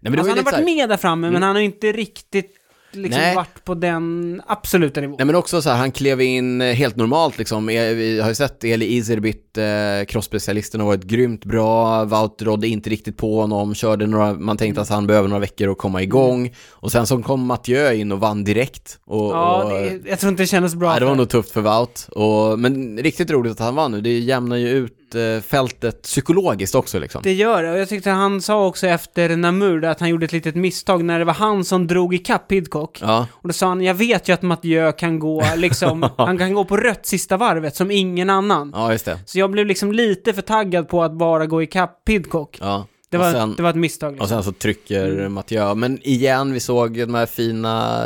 Speaker 1: Nej, men det var ju
Speaker 2: alltså, han har
Speaker 1: lite så
Speaker 2: varit
Speaker 1: här-
Speaker 2: med där framme, men
Speaker 1: Mm.
Speaker 2: han har inte riktigt liksom,
Speaker 1: Nej.
Speaker 2: varit på den absoluta nivån.
Speaker 1: Nej men också så här, han klev in eh, helt normalt liksom. Eh, Vi har ju sett Eli Iserbit, eh, crossspecialisten, har varit grymt bra. Wout rådde inte riktigt på honom, körde några, man tänkte att han behöver några veckor att komma igång. Och sen så kom Mathieu in och vann direkt. Och,
Speaker 2: ja,
Speaker 1: och,
Speaker 2: det, jag tror inte det kändes bra.
Speaker 1: Nej, det var
Speaker 2: för-
Speaker 1: nog tufft för Wout. Och, men riktigt roligt att han vann nu, det jämnar ju ut eh, fältet psykologiskt också liksom.
Speaker 2: Det gör det, och jag tyckte han sa också efter Namur där att han gjorde ett litet misstag när det var han som drog ikapp Pidcock.
Speaker 1: Ja,
Speaker 2: Och då sa han, jag vet ju att Mathieu kan gå, liksom, han kan gå på rött sista varvet som ingen annan.
Speaker 1: ja just det.
Speaker 2: Så jag blev liksom lite för taggad på att bara gå ikapp Pidcock.
Speaker 1: Ja.
Speaker 2: Det
Speaker 1: Och
Speaker 2: var,
Speaker 1: sen-
Speaker 2: det var ett misstag.
Speaker 1: Och
Speaker 2: Liksom.
Speaker 1: sen så trycker Mathieu. Men igen, vi såg de här fina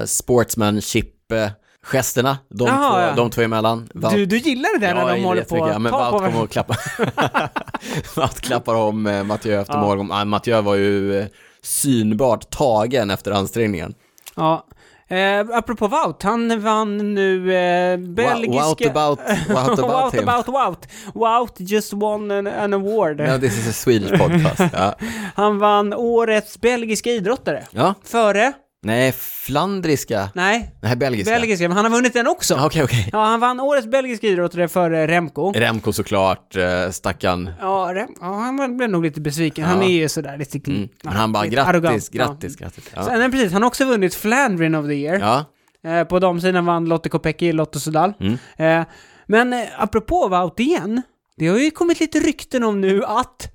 Speaker 1: sportsmanship-gesterna. De,
Speaker 2: Jaha,
Speaker 1: två,
Speaker 2: ja.
Speaker 1: de två emellan. Wout-
Speaker 2: Du, du gillade det
Speaker 1: Ja,
Speaker 2: när
Speaker 1: jag
Speaker 2: de
Speaker 1: gillar
Speaker 2: håller på
Speaker 1: jättemycket.
Speaker 2: att
Speaker 1: men
Speaker 2: ta på
Speaker 1: Wout kommer
Speaker 2: varandra.
Speaker 1: och klappar. Wout klappar om eh, Mathieu efter
Speaker 2: Ja.
Speaker 1: målgång. Ah, Mathieu var ju eh, synbart tagen efter ansträngningen.
Speaker 2: Ja. Eh, apropå Wout, han vann nu eh, belgiska...
Speaker 1: Wow, what about, what about
Speaker 2: Wout
Speaker 1: him?
Speaker 2: about Wout. Wout just won an, an award.
Speaker 1: No, this is a Swedish podcast. Ja.
Speaker 2: Han vann årets belgiska idrottare.
Speaker 1: ja.
Speaker 2: Före?
Speaker 1: Nej, flandriska.
Speaker 2: Nej,
Speaker 1: Nej, belgiska.
Speaker 2: belgiska. Men han har vunnit den också.
Speaker 1: Ja, Okej, okej.
Speaker 2: Ja, han vann årets belgiska idrottare före Remco.
Speaker 1: Remco såklart, eh, stackarn.
Speaker 2: Ja, Rem- ja, han blev nog lite besviken. Han
Speaker 1: Ja.
Speaker 2: är ju sådär lite...
Speaker 1: Mm. Men han bara
Speaker 2: lite
Speaker 1: grattis,
Speaker 2: arrogant.
Speaker 1: grattis, grattis.
Speaker 2: Ja.
Speaker 1: Ja.
Speaker 2: Sen, nej, precis, han har också vunnit Flandrin of the Year.
Speaker 1: Ja,
Speaker 2: Eh, på damsidan vann Lotte Kopecky, Lotto Sudal.
Speaker 1: Mm.
Speaker 2: Eh, men eh, apropå Wout igen, det har ju kommit lite rykten om nu att...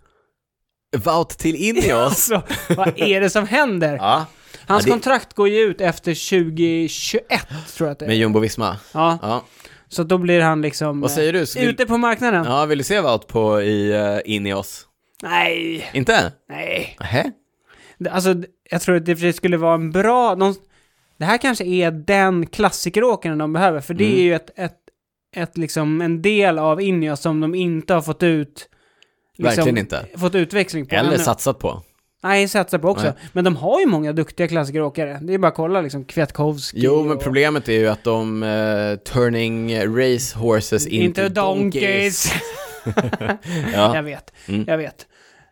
Speaker 1: Wout till Ineos.
Speaker 2: Alltså, vad är det som händer?
Speaker 1: ja,
Speaker 2: Hans
Speaker 1: Ja, det-
Speaker 2: kontrakt går ju ut efter 2021, tror jag att det
Speaker 1: med
Speaker 2: är.
Speaker 1: Jumbo Visma.
Speaker 2: Ja,
Speaker 1: Ja.
Speaker 2: så då blir han liksom...
Speaker 1: Vad
Speaker 2: eh,
Speaker 1: säger du? Så Vill,
Speaker 2: Ute på marknaden?
Speaker 1: ja, vill du se Wout på i eh, Ineos?
Speaker 2: Nej,
Speaker 1: Inte?
Speaker 2: nej.
Speaker 1: Nähä?
Speaker 2: Det- Alltså, d- jag tror att det i och för sig skulle vara en bra... Någon, det här kanske är den klassikeråkaren de behöver, för det
Speaker 1: Mm.
Speaker 2: är ju ett, ett, ett, liksom, en del av Ineos som de inte har fått ut... liksom
Speaker 1: Verkligen inte.
Speaker 2: Fått utväxling på.
Speaker 1: Eller
Speaker 2: ännu.
Speaker 1: satsat på.
Speaker 2: Nej, satsa på också.
Speaker 1: Nej.
Speaker 2: Men de har ju många duktiga klassikeråkare. Det är bara att kolla liksom Kwiatkowski
Speaker 1: Jo, men
Speaker 2: och-
Speaker 1: problemet är ju att de eh, turning race horses into,
Speaker 2: Inte donkeys! Jag
Speaker 1: ja.
Speaker 2: vet,
Speaker 1: Mm.
Speaker 2: jag vet.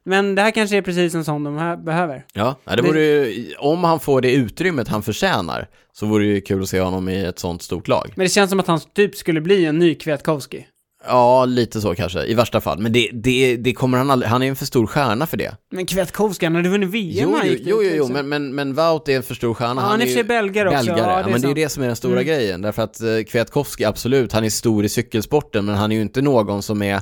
Speaker 2: Men det här kanske är precis en sån de här behöver.
Speaker 1: Ja. ja, det vore ju, om han får det utrymmet han förtjänar så vore det ju kul att se honom i ett sånt stort lag.
Speaker 2: Men det känns som att han typ skulle bli en ny Kwiatkowski.
Speaker 1: Ja, lite så kanske, i värsta fall. Men det, det, det kommer han aldrig, han är en för stor stjärna för det.
Speaker 2: Men Kwiatkowski, han hade vunnit VM
Speaker 1: Jo,
Speaker 2: han
Speaker 1: jo,
Speaker 2: gick dit,
Speaker 1: jo, jo,
Speaker 2: liksom.
Speaker 1: men, men, men Wout är en för stor stjärna.
Speaker 2: Ja, han är i och för sig belgare också. Ja, det är
Speaker 1: Ja, men det är
Speaker 2: sant.
Speaker 1: det som är den stora
Speaker 2: Mm.
Speaker 1: grejen. Därför att eh, Kwiatkowski, absolut, han är stor i cykelsporten, men han är ju inte någon som är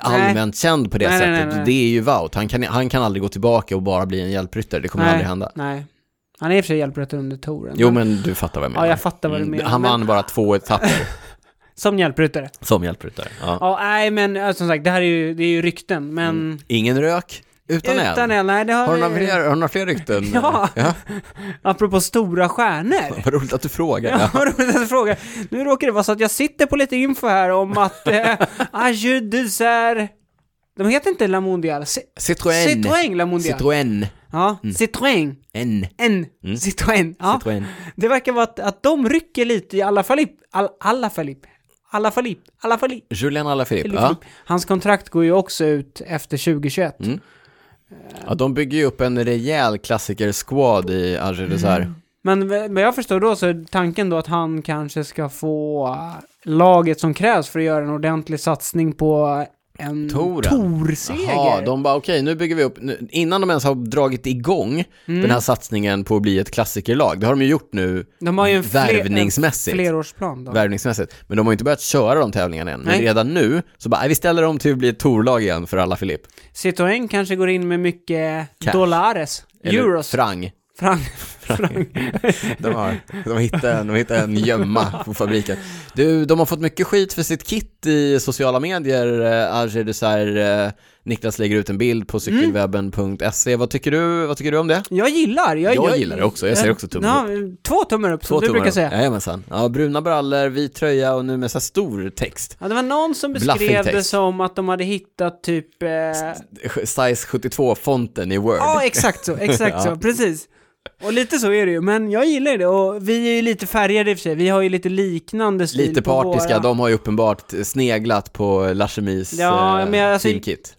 Speaker 1: allmänt känd på det
Speaker 2: Nej, nej,
Speaker 1: sättet.
Speaker 2: nej, nej.
Speaker 1: Det är ju Wout. Han kan, han kan aldrig gå tillbaka och bara bli en hjälpryttare. Det kommer
Speaker 2: Nej.
Speaker 1: aldrig hända.
Speaker 2: Nej. Han är i och för sig hjälpryttare under touren.
Speaker 1: Jo, men du fattar vad jag menar.
Speaker 2: Ja, jag fattar vad du
Speaker 1: Mm,
Speaker 2: menar.
Speaker 1: Han
Speaker 2: men-
Speaker 1: vann bara två etapper
Speaker 2: Som hjälpryttare.
Speaker 1: som hjälpryttare. Ja.
Speaker 2: Ja, nej, men eh, som sagt, det här är ju, det är ju rykten, men...
Speaker 1: Ingen rök, utan,
Speaker 2: Utan
Speaker 1: eld.
Speaker 2: eld, nej, det har,
Speaker 1: Mm. Har du några
Speaker 2: vi-
Speaker 1: fler, har du några fler rykten?
Speaker 2: Ja.
Speaker 1: ja.
Speaker 2: Apropå stora stjärnor.
Speaker 1: Vad roligt att du frågar.
Speaker 2: Ja, vad roligt att fråga. Nu råkar det vara så att jag sitter på lite info här om att eh, Ajud Duser De heter inte La Mondiale. C-
Speaker 1: Citroën.
Speaker 2: Citroën La Mondiale.
Speaker 1: Citroën. Mm.
Speaker 2: Ja, Citroën.
Speaker 1: N.
Speaker 2: En. Citroën. Ja.
Speaker 1: Mm. Citroën.
Speaker 2: Det verkar vara att, att de rycker lite i alla fall i- all, alla fall i- alla fall i- alla fall i-
Speaker 1: Julian Alaphilippe.
Speaker 2: Eller
Speaker 1: Ja.
Speaker 2: Filip. Hans kontrakt går ju också ut efter 2021.
Speaker 1: Mm. ja, de bygger ju upp en rejäl klassiker-squad i Alger Dessert.
Speaker 2: Mm, Men v- vad jag förstår då så är tanken då att han kanske ska få äh, laget som krävs för att göra en ordentlig satsning på en
Speaker 1: Touren.
Speaker 2: torseger.
Speaker 1: Ja, de bara okej, nu bygger vi upp, nu, innan de ens har dragit igång
Speaker 2: Mm.
Speaker 1: den här satsningen på att bli ett klassikerlag, det har de ju gjort nu
Speaker 2: De har ju en, fler, en
Speaker 1: Värvningsmässigt.
Speaker 2: flerårsplan då.
Speaker 1: värvningsmässigt, men de har ju inte börjat köra de tävlingarna än, men
Speaker 2: Nej.
Speaker 1: redan nu så bara, "Nej, vi ställer om till att bli ett torlag igen för alla Filip.
Speaker 2: Citroën kanske går in med mycket
Speaker 1: Cash.
Speaker 2: dollares, euros,
Speaker 1: Frang.
Speaker 2: franc. franc.
Speaker 1: De har, de hittar en, de hittar en gömma på fabriken. Du, de har fått mycket skit för sitt kit i sociala medier. Eh, Alger Dessert, eh, Niklas lägger ut en bild på cykelwebben.se. Vad, tycker du, vad tycker du om det?
Speaker 2: Jag gillar, jag,
Speaker 1: Jag gillar det också. Jag ser också tummen
Speaker 2: ja, Två tummar upp, som du brukar säga.
Speaker 1: Jajamensan. Ja, bruna brallor, vit tröja och nu med så här stor text.
Speaker 2: Ja, det var någon som
Speaker 1: Bluffing
Speaker 2: beskrev det
Speaker 1: text.
Speaker 2: som att de hade hittat typ... eh,
Speaker 1: Size 72-fonten i Word.
Speaker 2: Ja, exakt så, exakt så,
Speaker 1: Ja.
Speaker 2: precis. Och lite så är det ju, men jag gillar det och vi är ju lite färgade i och för sig, vi har ju lite liknande stil
Speaker 1: Lite
Speaker 2: på
Speaker 1: partiska,
Speaker 2: våra... Alltså,
Speaker 1: de har ju uppenbart sneglat på Lachemis
Speaker 2: Ja,
Speaker 1: eh,
Speaker 2: men alltså-
Speaker 1: teamkit.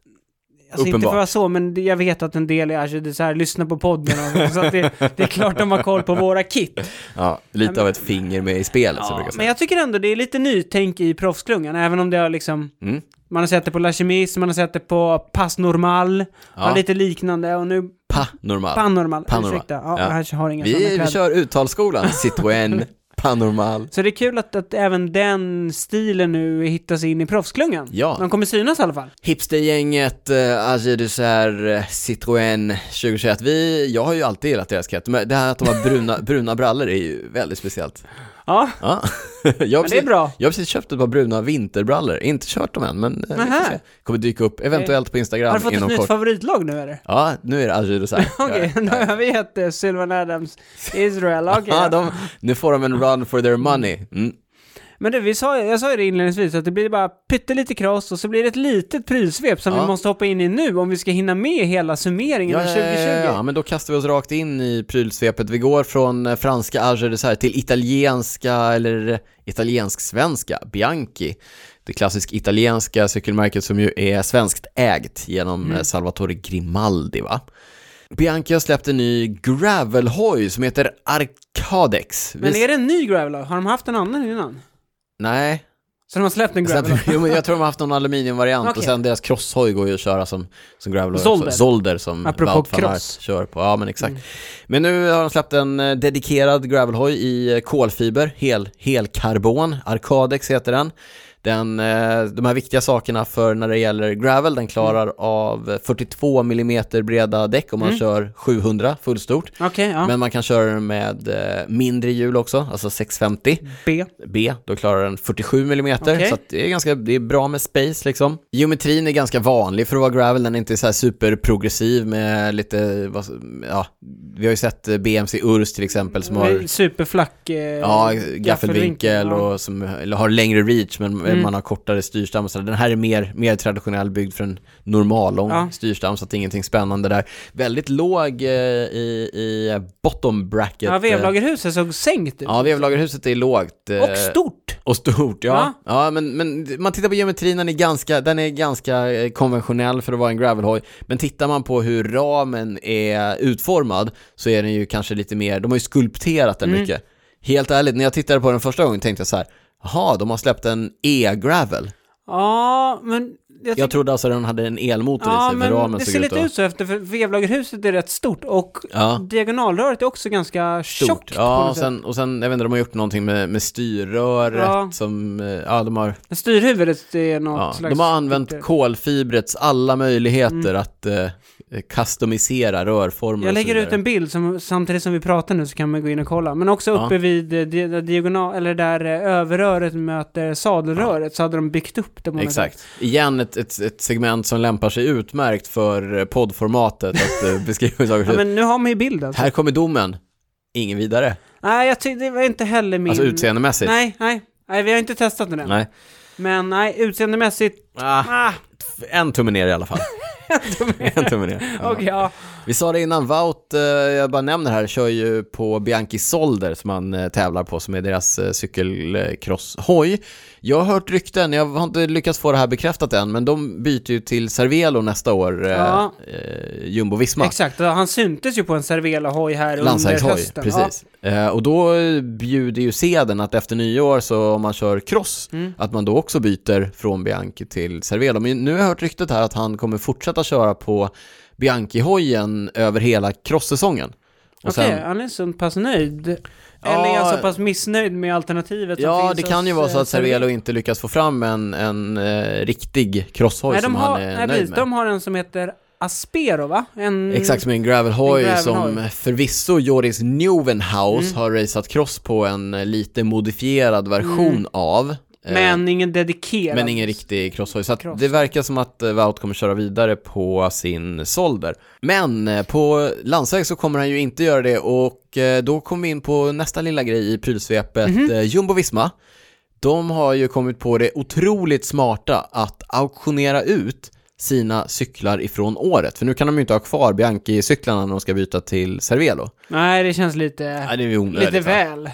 Speaker 2: Alltså inte för
Speaker 1: Uppenbart.
Speaker 2: att vara så, men det- jag vet att en del är så här, lyssnar på podden och så att det, det är klart de har koll på våra kit.
Speaker 1: Ja, lite av ett finger med i spelet, så brukar
Speaker 2: Ja,
Speaker 1: jag
Speaker 2: men
Speaker 1: säga.
Speaker 2: jag tycker ändå det är lite nytänk i proffsklungan, även om det har liksom,
Speaker 1: Mm.
Speaker 2: man har sett det på La Chemise, man har sett det på Pass Normal, ja. lite liknande och nu
Speaker 1: Panormal.
Speaker 2: Panormal,
Speaker 1: Panormal.
Speaker 2: ursäkta, ja,
Speaker 1: Ja.
Speaker 2: här har jag inga sådana
Speaker 1: vi, vi
Speaker 2: kläder.
Speaker 1: kör uttalsskolan, Citroën, Panormal.
Speaker 2: Så det är kul att, att även den stilen nu hittas in i proffsklungan.
Speaker 1: Ja.
Speaker 2: De kommer synas i alla fall.
Speaker 1: Hipstergänget, eh, Alger Dessert, eh, Citroën 2021. Vi, jag har ju alltid gillat deras kit, men det här att de har bruna, bruna brallor är ju väldigt speciellt.
Speaker 2: Ja,
Speaker 1: Ja. Jag, har
Speaker 2: men det är
Speaker 1: precis,
Speaker 2: bra.
Speaker 1: jag har precis köpt ett par bruna vinterbrallor, inte kört dem än, men eh, vi får
Speaker 2: Nähä.
Speaker 1: se. kommer dyka upp eventuellt på
Speaker 2: Har du
Speaker 1: Instagram
Speaker 2: fått ett
Speaker 1: inom
Speaker 2: nytt
Speaker 1: kort.
Speaker 2: favoritlag nu eller?
Speaker 1: Ja, nu är det Alger Dessert.
Speaker 2: Okej, då har vi gett eh, Sylvan Adams Israel. Okej.
Speaker 1: Ja, de, nu får de en run for their money. Mm.
Speaker 2: Men du, vi sa, jag sa ju det inledningsvis att det blir bara pyttelite kross och så blir det ett litet prylsvep som
Speaker 1: Ja.
Speaker 2: vi måste hoppa in i nu om vi ska hinna med hela summeringen av 2020.
Speaker 1: Eh, ja, men då kastar vi oss rakt in i prylsvepet. Vi går från eh, franska Alger Dessert till italienska eller eh, italiensk-svenska Bianchi. Det klassiskt italienska cykelmärket som ju är svenskt ägt genom
Speaker 2: Mm.
Speaker 1: eh, Salvatore Grimaldi va? Bianchi har släppt en ny gravelhoj som heter Arcadex. Vi-
Speaker 2: Men är det en ny Gravelog? Har de haft en annan innan?
Speaker 1: Nej,
Speaker 2: Så de har släppt en
Speaker 1: Sen,
Speaker 2: Gravelog?
Speaker 1: jo, men jag tror de har haft någon aluminiumvariant och
Speaker 2: Okej.
Speaker 1: sen deras crosshoj går ju att köra som, som gravelhoj. också.
Speaker 2: Zolder.
Speaker 1: Zolder som
Speaker 2: Apropå
Speaker 1: Wout van Aert
Speaker 2: cross. Mm.
Speaker 1: kör på. Ja men exakt. Men nu har de släppt en eh, dedikerad gravelhoj i eh, kolfiber, hel, helkarbon, Arcadex heter den. Den, eh, de här viktiga sakerna för när det gäller gravel, den klarar
Speaker 2: Mm.
Speaker 1: av eh, 42 mm breda däck om man kör 700 fullstort.
Speaker 2: Okej, Mm. ja.
Speaker 1: Men man kan köra den med eh, mindre hjul också, alltså 650.
Speaker 2: B.
Speaker 1: B, då klarar den 47 mm,
Speaker 2: Okej.
Speaker 1: så att det, är ganska, det är bra med space liksom. Geometrin är ganska vanlig för att vara gravel, den är inte så här superprogressiv med lite, vad, ja, vi har ju sett eh, BMC Urs till exempel som har
Speaker 2: Superflack eh,
Speaker 1: ja, gaffelvinkel
Speaker 2: ja.
Speaker 1: och som eller har längre reach men
Speaker 2: Mm.
Speaker 1: man har kortare styrstam och sådär. Den här är mer, mer traditionell byggd för en normal lång
Speaker 2: Ja.
Speaker 1: styrstam så att det är ingenting spännande där. Väldigt låg eh, i, i bottom bracket. eh,
Speaker 2: Ja, vevlagerhuset såg sänkt ut.
Speaker 1: Ja, vevlagerhuset är lågt. eh,
Speaker 2: Och stort!
Speaker 1: och stort, ja. Ja, men, men man tittar på geometrin, den är, ganska, den är ganska eh, konventionell för att vara en gravelhoj. Men tittar man på hur ramen är utformad så är den ju kanske lite mer, de har ju skulpterat
Speaker 2: Mm.
Speaker 1: den mycket. Helt ärligt, när jag tittade på den första gången tänkte jag så här, jaha, de har släppt en e-gravel.
Speaker 2: Ja, men... Jag
Speaker 1: Jag trodde alltså den hade en elmotor i
Speaker 2: ja,
Speaker 1: sig, för
Speaker 2: men
Speaker 1: ramen
Speaker 2: det
Speaker 1: såg
Speaker 2: ser
Speaker 1: ut
Speaker 2: lite
Speaker 1: att...
Speaker 2: ut så efter, för vevlagerhuset är rätt stort och
Speaker 1: Ja.
Speaker 2: diagonalröret är också ganska tjockt.
Speaker 1: Stort.
Speaker 2: på
Speaker 1: Ja,
Speaker 2: något
Speaker 1: och
Speaker 2: sätt.
Speaker 1: sen, och sen, jag vet inte, de har gjort någonting med, med styrröret
Speaker 2: Ja.
Speaker 1: som, eh, ja de har
Speaker 2: Men Styrhuvudet är något
Speaker 1: Ja,
Speaker 2: slags... typ-
Speaker 1: de har använt
Speaker 2: filter.
Speaker 1: kolfibrets alla möjligheter att eh, customisera rörformer
Speaker 2: Jag
Speaker 1: och så
Speaker 2: lägger ut
Speaker 1: vidare.
Speaker 2: en bild som, samtidigt som vi pratar nu så kan man gå in och kolla. Men också uppe vid eh, di- där diagonal, eller där eh, överröret möter sadelröret så hade de byggt upp det. på något sätt.
Speaker 1: Exakt. Igen ett, ett, ett segment som lämpar sig utmärkt för eh, poddformatet att eh, beskriva saker.
Speaker 2: Ja, men nu har man ju bild alltså.
Speaker 1: Här kommer domen. Ingen vidare.
Speaker 2: Nej, jag tyckte det var inte heller min...
Speaker 1: Alltså utseendemässigt.
Speaker 2: Nej, nej. Nej, vi har inte testat den än.
Speaker 1: Nej.
Speaker 2: Men nej, utseendemässigt...
Speaker 1: Ah,
Speaker 2: Ah,
Speaker 1: en tumme ner i alla fall. en tumme ner. Ja.
Speaker 2: Okej, ja.
Speaker 1: Vi sa det innan, Wout, eh, jag bara nämner här, kör ju på Bianchi Solder som han eh, tävlar på, som är deras eh, cykelcrosshoj. Jag har hört rykten, jag har inte lyckats få det här bekräftat än, men de byter ju till Cervelo nästa år, eh,
Speaker 2: Ja.
Speaker 1: eh, Jumbo-Visma.
Speaker 2: Exakt, och han syntes ju på en Cervela-hoj här under
Speaker 1: Landsvägshoj,
Speaker 2: hösten.
Speaker 1: precis. Eh, och då bjuder ju seden att efter nyår, så om man kör cross,
Speaker 2: Mm.
Speaker 1: att man då också byter från Bianchi till Cervelo. Men nu har jag hört ryktet här att han kommer fortsätta köra på Bianchi-hojen över hela crosssäsongen. Och
Speaker 2: Ja. Okej,
Speaker 1: sen-
Speaker 2: han är så pass nöjd.
Speaker 1: Ja.
Speaker 2: Eller är han så pass missnöjd med alternativet som
Speaker 1: Ja,
Speaker 2: finns
Speaker 1: det kan ju
Speaker 2: hos,
Speaker 1: vara så
Speaker 2: eh,
Speaker 1: att Cervelo inte lyckas få fram en, en eh, riktig crosshoj
Speaker 2: Nej,
Speaker 1: som
Speaker 2: de har,
Speaker 1: han är
Speaker 2: nej,
Speaker 1: nöjd
Speaker 2: precis,
Speaker 1: med.
Speaker 2: de har en som heter Aspero, va? En,
Speaker 1: Exakt som en gravelhoj
Speaker 2: Mm. En gravelhoj. Mm.
Speaker 1: som förvisso Joris Neuwenhaus har raceat cross på en eh, lite modifierad version av. eh,
Speaker 2: Mm. Men ingen dedikerad.
Speaker 1: men ingen riktig crosshoj. Så att
Speaker 2: Cross.
Speaker 1: det verkar som att eh, Wout kommer köra vidare på sin Solder. Men eh, på landsväg så kommer han ju inte göra det och eh, då kommer vi in på nästa lilla grej i prylsvepet, eh, Jumbo-Visma. De har ju kommit på det otroligt smarta att auktionera ut sina cyklar ifrån året. För nu kan de ju inte ha kvar Bianchi-cyklarna när de ska byta till Cervelo.
Speaker 2: Nej, det känns lite,
Speaker 1: Nej, det är ju onödigt.
Speaker 2: lite
Speaker 1: va?
Speaker 2: väl.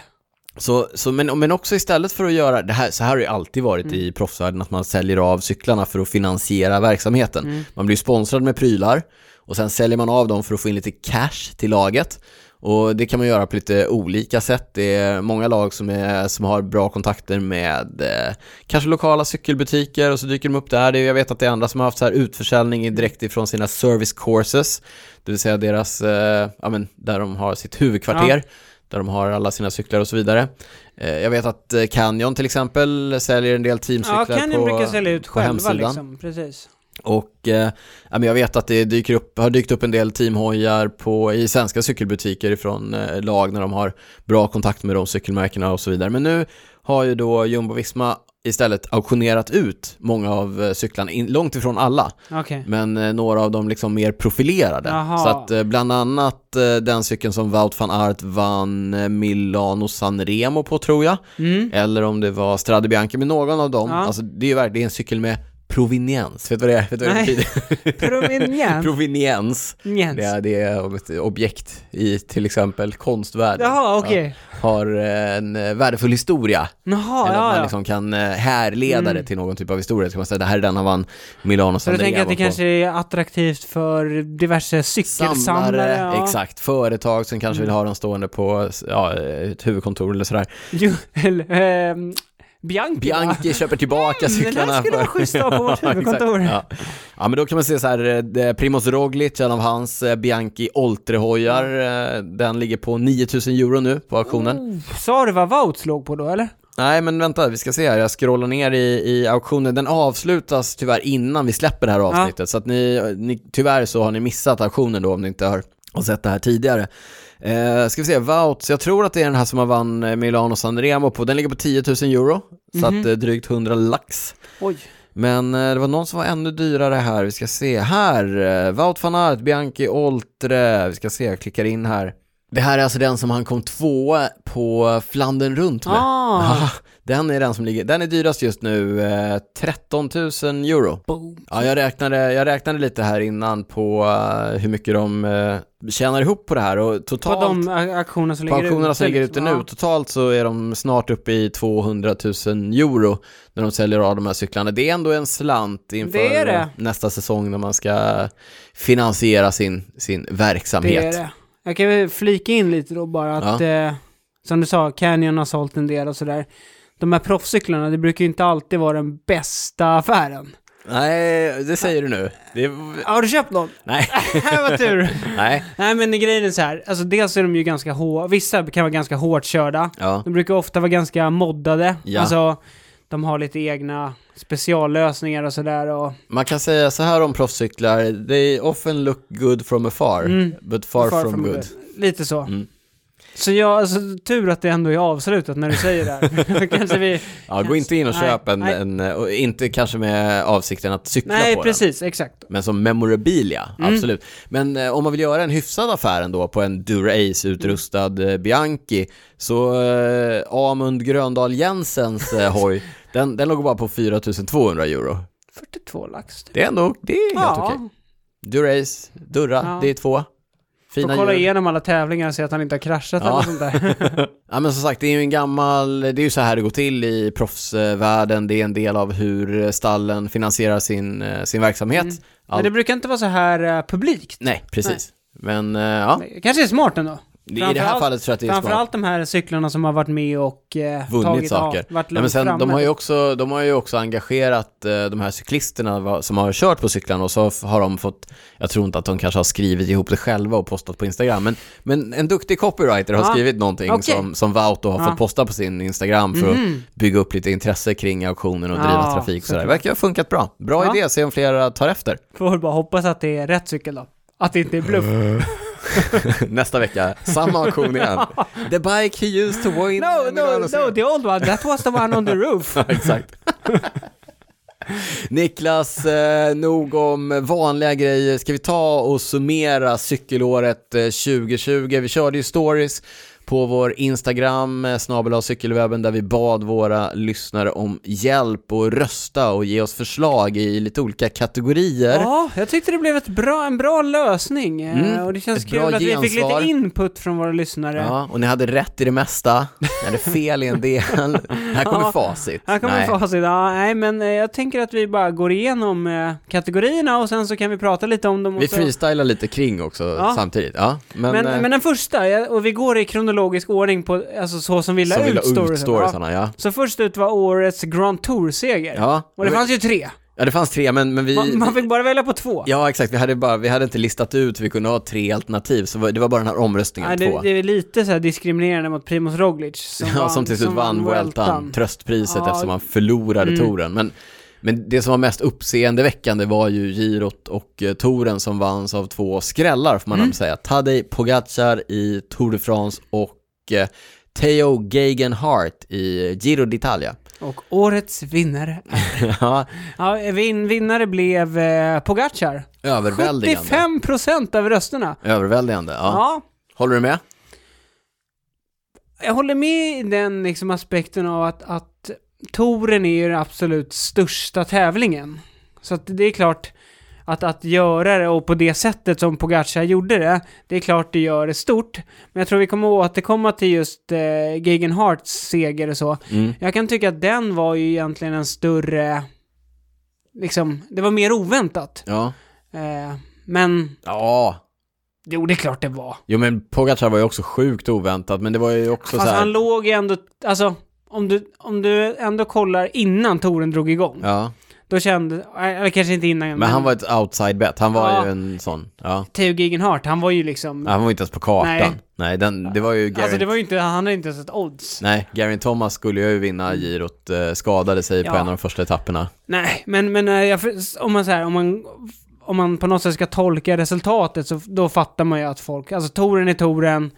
Speaker 1: Så, så, men, men också istället för att göra, det här, så här har det ju alltid varit i proffsvärlden, att man säljer av cyklarna för att finansiera verksamheten. Man blir sponsrad med prylar och sen säljer man av dem för att få in lite cash till laget. Och det kan man göra på lite olika sätt. Det är många lag som, är, som har bra kontakter med eh, kanske lokala cykelbutiker och så dyker de upp där. Det, är- jag vet att det är andra som har haft så här utförsäljning i- direkt ifrån sina service courses, det vill säga deras, eh, ja, men, där de har sitt huvudkvarter där de har alla sina cyklar och så vidare. Eh, jag vet att eh, Canyon till exempel säljer en del
Speaker 2: Ja,
Speaker 1: teamcyklar
Speaker 2: kan ju
Speaker 1: på,
Speaker 2: brukar sälja ut
Speaker 1: på
Speaker 2: själva
Speaker 1: hemsidan.
Speaker 2: liksom, precis.
Speaker 1: Och eh, ja, men jag vet att det dyker upp, har dykt upp en del teamhojar på, i svenska cykelbutiker ifrån eh, lag när de har bra kontakt med de cykelmärkena och så vidare. Men nu har ju då Jumbo-Visma istället auktionerat ut många av eh, cyklarna, in, långt ifrån alla.
Speaker 2: Okej.
Speaker 1: Men eh, några av dem liksom mer profilerade.
Speaker 2: Jaha.
Speaker 1: Så att eh, bland annat eh, den cykeln som Wout van Aert vann eh, Milano Sanremo på tror jag.
Speaker 2: Mm.
Speaker 1: Eller om det var Strade Bianca, men någon av dem.
Speaker 2: Ja.
Speaker 1: Alltså det är ju verkligen en cykel med proveniens. Vet du vad det är? Vet du vad det
Speaker 2: Nej.
Speaker 1: betyder?
Speaker 2: Proveniens.
Speaker 1: proveniens. Det
Speaker 2: Jens.
Speaker 1: är, det är ett objekt i till exempel konstvärlden.
Speaker 2: Jaha, okej.
Speaker 1: Har eh, en eh, värdefull historia. Eller
Speaker 2: Jaha,
Speaker 1: att
Speaker 2: ja,
Speaker 1: man
Speaker 2: ja.
Speaker 1: liksom kan eh, härleda det till någon typ av historia. Så kan man säga, det här är den han vann Milano
Speaker 2: Så du
Speaker 1: Sanremo
Speaker 2: tänker att det
Speaker 1: på.
Speaker 2: kanske är attraktivt för diverse cykelsamlare?
Speaker 1: samlare,
Speaker 2: ja. Mm.
Speaker 1: exakt, företag som kanske vill ha dem stående på ja, ett huvudkontor eller sådär.
Speaker 2: Jo, eller, ehm, Bianchi, va?
Speaker 1: Bianchi köper tillbaka
Speaker 2: Mm, det där
Speaker 1: cyklarna.
Speaker 2: skulle vara schysst att ha på vårt
Speaker 1: Ja, exakt.
Speaker 2: huvudkontor.
Speaker 1: Ja. ja, men då kan man se så här, eh, det- Primoz Roglic, en av hans eh, Bianchi Oltre-hojar, eh, den ligger på 9000 euro nu på auktionen.
Speaker 2: Mm. Sa du vad Wout slog på då, eller?
Speaker 1: Nej, men vänta, vi ska se här. Jag scrollar ner i, i auktionen. Den avslutas tyvärr innan vi släpper det här avsnittet. Så att ni, ni, tyvärr så har ni missat auktionen då om ni inte har, har sett det här tidigare. Eh, ska vi se, Vouts, jag tror att det är den här som har vann eh, Milano Sanremo på. Den ligger på 10 000 euro, så
Speaker 2: Mhm.
Speaker 1: att eh, drygt 100 lax.
Speaker 2: Oj.
Speaker 1: Men eh, det var någon som var ännu dyrare här. Vi ska se här. Eh, Wout van Aert, Bianchi Oltre. Vi ska se, jag klickar in här. Det här är alltså den som han kom tvåa på Flandern runt med.
Speaker 2: Ah,
Speaker 1: Ah, den är den som ligger, den är dyrast just nu, eh, 13 000 euro.
Speaker 2: boom.
Speaker 1: Ja, jag räknade, jag räknade lite här innan på eh, hur mycket de eh, tjänar ihop på det här och
Speaker 2: På
Speaker 1: totalt
Speaker 2: de a- auktioner som
Speaker 1: på
Speaker 2: ligger
Speaker 1: auktionerna
Speaker 2: ute,
Speaker 1: som ligger ute
Speaker 2: liksom.
Speaker 1: nu, totalt så är de snart uppe i 200 000 euro när de säljer av de här cyklarna. Det är ändå en slant inför
Speaker 2: Det är det.
Speaker 1: nästa säsong när man ska finansiera sin, sin verksamhet.
Speaker 2: Det är det. Jag kan väl flika in lite då bara att, eh, som du sa, Canyon har sålt en del och sådär. De här proffscyklarna, det brukar ju inte alltid vara den bästa affären.
Speaker 1: Nej, det säger du nu. Det är...
Speaker 2: Har du köpt någon?
Speaker 1: Nej,
Speaker 2: Vad tur!
Speaker 1: nej.
Speaker 2: Nej men grejen är så här, alltså dels är de ju ganska hår, vissa kan vara ganska hårt körda.
Speaker 1: Ja.
Speaker 2: De brukar ofta vara ganska moddade.
Speaker 1: Ja.
Speaker 2: Alltså, de har lite egna speciallösningar och sådär och...
Speaker 1: Man kan säga så här om proffscyklar, they often look good from afar,
Speaker 2: Mm.
Speaker 1: but far, from, good. Mm.
Speaker 2: Lite så. Så jag, alltså tur att det ändå är avslutat när du säger det här. Då kanske vi...
Speaker 1: Ja, gå inte in och
Speaker 2: Nej,
Speaker 1: köp en,
Speaker 2: nej.
Speaker 1: en, eh, och inte kanske med avsikten att cykla
Speaker 2: Nej,
Speaker 1: på den.
Speaker 2: precis, exakt.
Speaker 1: Men som memorabilia,
Speaker 2: Mm.
Speaker 1: absolut. Men eh, om man vill göra en hyfsad affär ändå på en Durace-utrustad eh, Bianchi, så eh, Amund Gröndal Jensens eh, hoj, den, den låg bara på 4200 euro.
Speaker 2: 42 lax. typ.
Speaker 1: Det är ändå, det är helt okej. Durace, Durra,
Speaker 2: Ja.
Speaker 1: det är två.
Speaker 2: Får
Speaker 1: Fina
Speaker 2: kolla
Speaker 1: djur.
Speaker 2: igenom alla tävlingar och se att han inte har kraschat
Speaker 1: Ja.
Speaker 2: eller sånt där.
Speaker 1: Ja men som sagt, det är ju en gammal, det är ju så här det går till i proffsvärlden, det är en del av hur stallen finansierar sin, eh, sin verksamhet.
Speaker 2: Men
Speaker 1: Allt-
Speaker 2: det brukar inte vara så här eh, publikt.
Speaker 1: Nej, precis. Men eh, ja,
Speaker 2: Det kanske är smart ändå.
Speaker 1: i det här
Speaker 2: Framförallt-
Speaker 1: fallet tror jag att det är smart.
Speaker 2: Framförallt de här cyklarna som har varit med och eh,
Speaker 1: vunnit
Speaker 2: tagit, ja,
Speaker 1: saker.
Speaker 2: varit
Speaker 1: Nej, men
Speaker 2: långt
Speaker 1: sen,
Speaker 2: framme.
Speaker 1: de, har ju också, de har ju också engagerat eh, de här cyklisterna va, som har kört på cyklarna och så f- har de fått, jag tror inte att de kanske har skrivit ihop det själva och postat på Instagram, men, men en duktig copywriter har
Speaker 2: Ja,
Speaker 1: skrivit någonting
Speaker 2: okej.
Speaker 1: som, som Vauto har
Speaker 2: Ja. Mhm.
Speaker 1: fått posta på sin Instagram för att bygga upp lite intresse kring auktionen och
Speaker 2: Ja,
Speaker 1: driva trafik och sådär. Det
Speaker 2: såklart.
Speaker 1: verkar ha funkat bra. Bra
Speaker 2: Ja.
Speaker 1: idé, se om flera tar efter.
Speaker 2: Får väl bara hoppas att det är rätt cykel då. Att det inte är
Speaker 1: Mm.
Speaker 2: bluff.
Speaker 1: Nästa vecka, samma auktion igen. The bike he used to win.
Speaker 2: No, no,
Speaker 1: alltså-
Speaker 2: no, the old one, that was the one on the roof.
Speaker 1: Ja, exakt. Niklas, eh, nog om vanliga grejer. Ska vi ta och summera cykelåret eh, 2020? Vi körde ju stories på vår Instagram, eh, snabel av cykelwebben, där vi bad våra lyssnare om hjälp och rösta och ge oss förslag i lite olika kategorier.
Speaker 2: Ja, jag tyckte det blev ett bra, en bra lösning. eh,
Speaker 1: Mm,
Speaker 2: Och det känns
Speaker 1: ett bra
Speaker 2: kul att vi fick
Speaker 1: gensvar.
Speaker 2: lite input från våra lyssnare.
Speaker 1: Ja, och ni hade rätt i det mesta, ni hade fel i en del. Här kommer
Speaker 2: Ja,
Speaker 1: facit.
Speaker 2: Här
Speaker 1: Nej.
Speaker 2: kommer facit. Ja, nej, men eh, jag tänker att vi bara går igenom eh, kategorierna och sen så kan vi prata lite om dem. och
Speaker 1: Vi
Speaker 2: så-
Speaker 1: freestylar lite kring också
Speaker 2: Ja.
Speaker 1: samtidigt. Ja, men,
Speaker 2: Men,
Speaker 1: eh,
Speaker 2: men den första, ja, och vi går i kronologisk ordning på, alltså så som vi la
Speaker 1: som vi la
Speaker 2: ut
Speaker 1: ut
Speaker 2: storiesen. Ja.
Speaker 1: storiesarna, ja.
Speaker 2: Så först ut var årets Grand Tour-seger.
Speaker 1: Ja,
Speaker 2: Och det fanns ju tre.
Speaker 1: ja, det fanns tre, men, men vi...
Speaker 2: Man, man fick bara välja på två.
Speaker 1: Ja, exakt. Vi hade, bara, vi hade inte listat ut, vi kunde ha tre alternativ, så det var bara den här omröstningen,
Speaker 2: Nej,
Speaker 1: två.
Speaker 2: det, det är lite så här diskriminerande mot Primoz Roglic. Som,
Speaker 1: ja,
Speaker 2: vann,
Speaker 1: som till slut
Speaker 2: som
Speaker 1: vann Vueltan, tröstpriset
Speaker 2: Ja. Mm.
Speaker 1: eftersom han förlorade touren. Men, men det som var mest uppseendeväckande var ju girot och eh, touren som vanns av två skrällar, får man mm. säga. Tadej Pogacar i Tour de France och eh, Theo Gegenhardt i Giro d'Italia.
Speaker 2: Och årets vinnare.
Speaker 1: Ja,
Speaker 2: Ja, vin, vinnare blev eh, Pogacar.
Speaker 1: överväldigande.
Speaker 2: 75 procent av rösterna.
Speaker 1: Överväldigande, ja.
Speaker 2: Ja.
Speaker 1: Håller du med?
Speaker 2: jag håller med i den liksom, aspekten av att, att touren är ju den absolut största tävlingen. Så att det är klart att, att göra det och på det sättet som Pogacar gjorde det, det är klart det gör det stort. Men jag tror vi kommer återkomma till just eh, Gegenharts seger och så.
Speaker 1: Mm.
Speaker 2: Jag kan tycka att den var ju egentligen en större, liksom, det var mer oväntat.
Speaker 1: Ja.
Speaker 2: Eh, men,
Speaker 1: Ja,
Speaker 2: jo det är klart det var.
Speaker 1: Jo men Pogacar var ju också sjukt oväntat, men det var ju också
Speaker 2: Fast
Speaker 1: så här...
Speaker 2: han låg ju ändå, alltså om du, om du ändå kollar innan touren drog igång,
Speaker 1: Ja,
Speaker 2: då kände, eller kanske inte innan,
Speaker 1: men han var ett outside bet, han var
Speaker 2: Ja.
Speaker 1: ju en sån, ja.
Speaker 2: Theo Gegenhardt, han var ju liksom,
Speaker 1: Han var inte ens på kartan. Nej,
Speaker 2: Nej.
Speaker 1: den, det var ju Gary...
Speaker 2: alltså det var ju inte, han hade inte ens ett odds.
Speaker 1: Nej, Garin Thomas skulle ju vinna girot, eh, skadade sig på
Speaker 2: Ja.
Speaker 1: en av de första etapperna.
Speaker 2: Nej, men, men eh, jag, för- om man så här, om man, om man på något sätt ska tolka resultatet så då fattar man ju att folk, alltså touren är touren,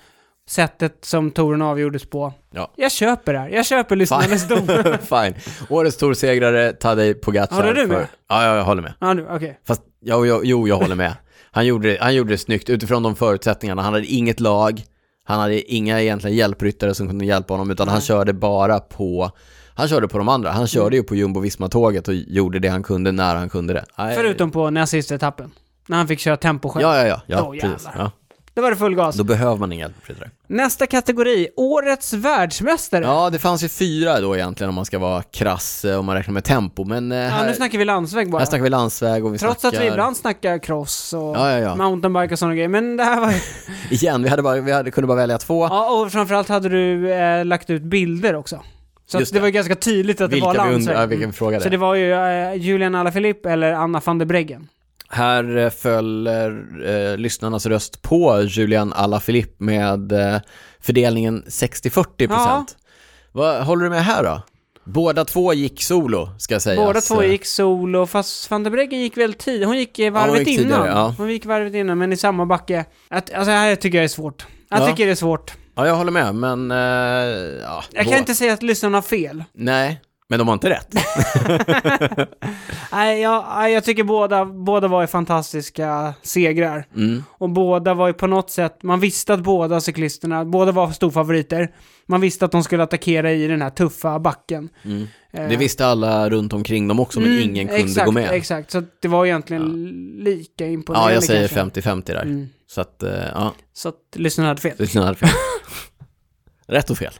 Speaker 2: sättet som touren avgjordes på.
Speaker 1: Ja.
Speaker 2: Jag köper det här, jag köper lyssnarnas dom.
Speaker 1: Fine. Årets torsegrare, Tadej Pogacar.
Speaker 2: Håller
Speaker 1: för-
Speaker 2: du med?
Speaker 1: Ja, ja, jag håller med.
Speaker 2: Ja, nu, okej.
Speaker 1: Fast, ja, jo, jo, jag håller med. Han gjorde, det- han gjorde det snyggt utifrån de förutsättningarna. Han hade inget lag, han hade inga egentligen hjälpryttare som kunde hjälpa honom, utan han körde bara på han körde på de andra. Han körde ju på jumbo-visma-tåget och gjorde det han kunde när han kunde det. Nej.
Speaker 2: Förutom på näst sista etappen, när han fick köra tempo själv.
Speaker 1: Ja, ja, ja. ja,
Speaker 2: Då
Speaker 1: precis.
Speaker 2: jävlar.
Speaker 1: ja.
Speaker 2: Då var det full gas.
Speaker 1: Då behöver man inga hjälpryttare.
Speaker 2: Nästa kategori, Årets världsmästare. Ja,
Speaker 1: Ja, det fanns ju fyra då egentligen om man ska vara krass, eh, om man räknar med tempo. Men eh, här,
Speaker 2: nu snackar vi landsväg bara.
Speaker 1: här snackar vi landsväg och vi
Speaker 2: Trots
Speaker 1: snackar...
Speaker 2: att vi ibland snackar cross och
Speaker 1: Ja, ja, ja.
Speaker 2: mountainbike och sådana grejer. Men det här var ju...
Speaker 1: Igen, vi, hade bara, vi hade, kunde bara välja två.
Speaker 2: Ja, och framförallt hade du eh, lagt ut bilder också. Så att
Speaker 1: Just
Speaker 2: det
Speaker 1: det.
Speaker 2: var ju ganska tydligt att det var
Speaker 1: vilka vi
Speaker 2: landsväg.
Speaker 1: undrar, vilken vi frågade.
Speaker 2: Så det var ju eh, Julian Alaphilippe eller Anna van der Breggen.
Speaker 1: Här eh, föll eh, lyssnarnas röst på Julian Alaphilippe med eh, fördelningen 60-40%.
Speaker 2: Ja.
Speaker 1: Vad håller du med här då? Båda två gick solo, ska sägas.
Speaker 2: Båda två gick solo, fast van der Breggen gick väl tid. Hon gick eh,
Speaker 1: eh. hon
Speaker 2: varvet
Speaker 1: gick
Speaker 2: innan.
Speaker 1: tidigare, ja.
Speaker 2: Hon gick varvet innan, men i samma backe. Att, alltså det här tycker jag är svårt. Jag
Speaker 1: Ja.
Speaker 2: tycker det är svårt.
Speaker 1: Ja, jag håller med, men... Eh, ja,
Speaker 2: Jag
Speaker 1: bå-
Speaker 2: kan inte säga att lyssnarna har fel.
Speaker 1: Nej, Men de har inte rätt.
Speaker 2: Nej, jag, nej, jag tycker båda, båda var ju fantastiska segrar.
Speaker 1: Mm.
Speaker 2: Och båda var ju på något sätt, man visste att båda cyklisterna, båda var storfavoriter. Man visste att de skulle attackera i den här tuffa backen.
Speaker 1: Mm.
Speaker 2: Eh,
Speaker 1: Det visste alla runt omkring dem också, men
Speaker 2: mm,
Speaker 1: ingen kunde
Speaker 2: exakt,
Speaker 1: gå med.
Speaker 2: Exakt, så att det var egentligen lika imponerande
Speaker 1: ja, jag säger
Speaker 2: kanske.
Speaker 1: 50-50 där.
Speaker 2: Mm.
Speaker 1: Så att, eh, ja,
Speaker 2: Så att lyssnarna hade fel.
Speaker 1: det är fel. Rätt och fel.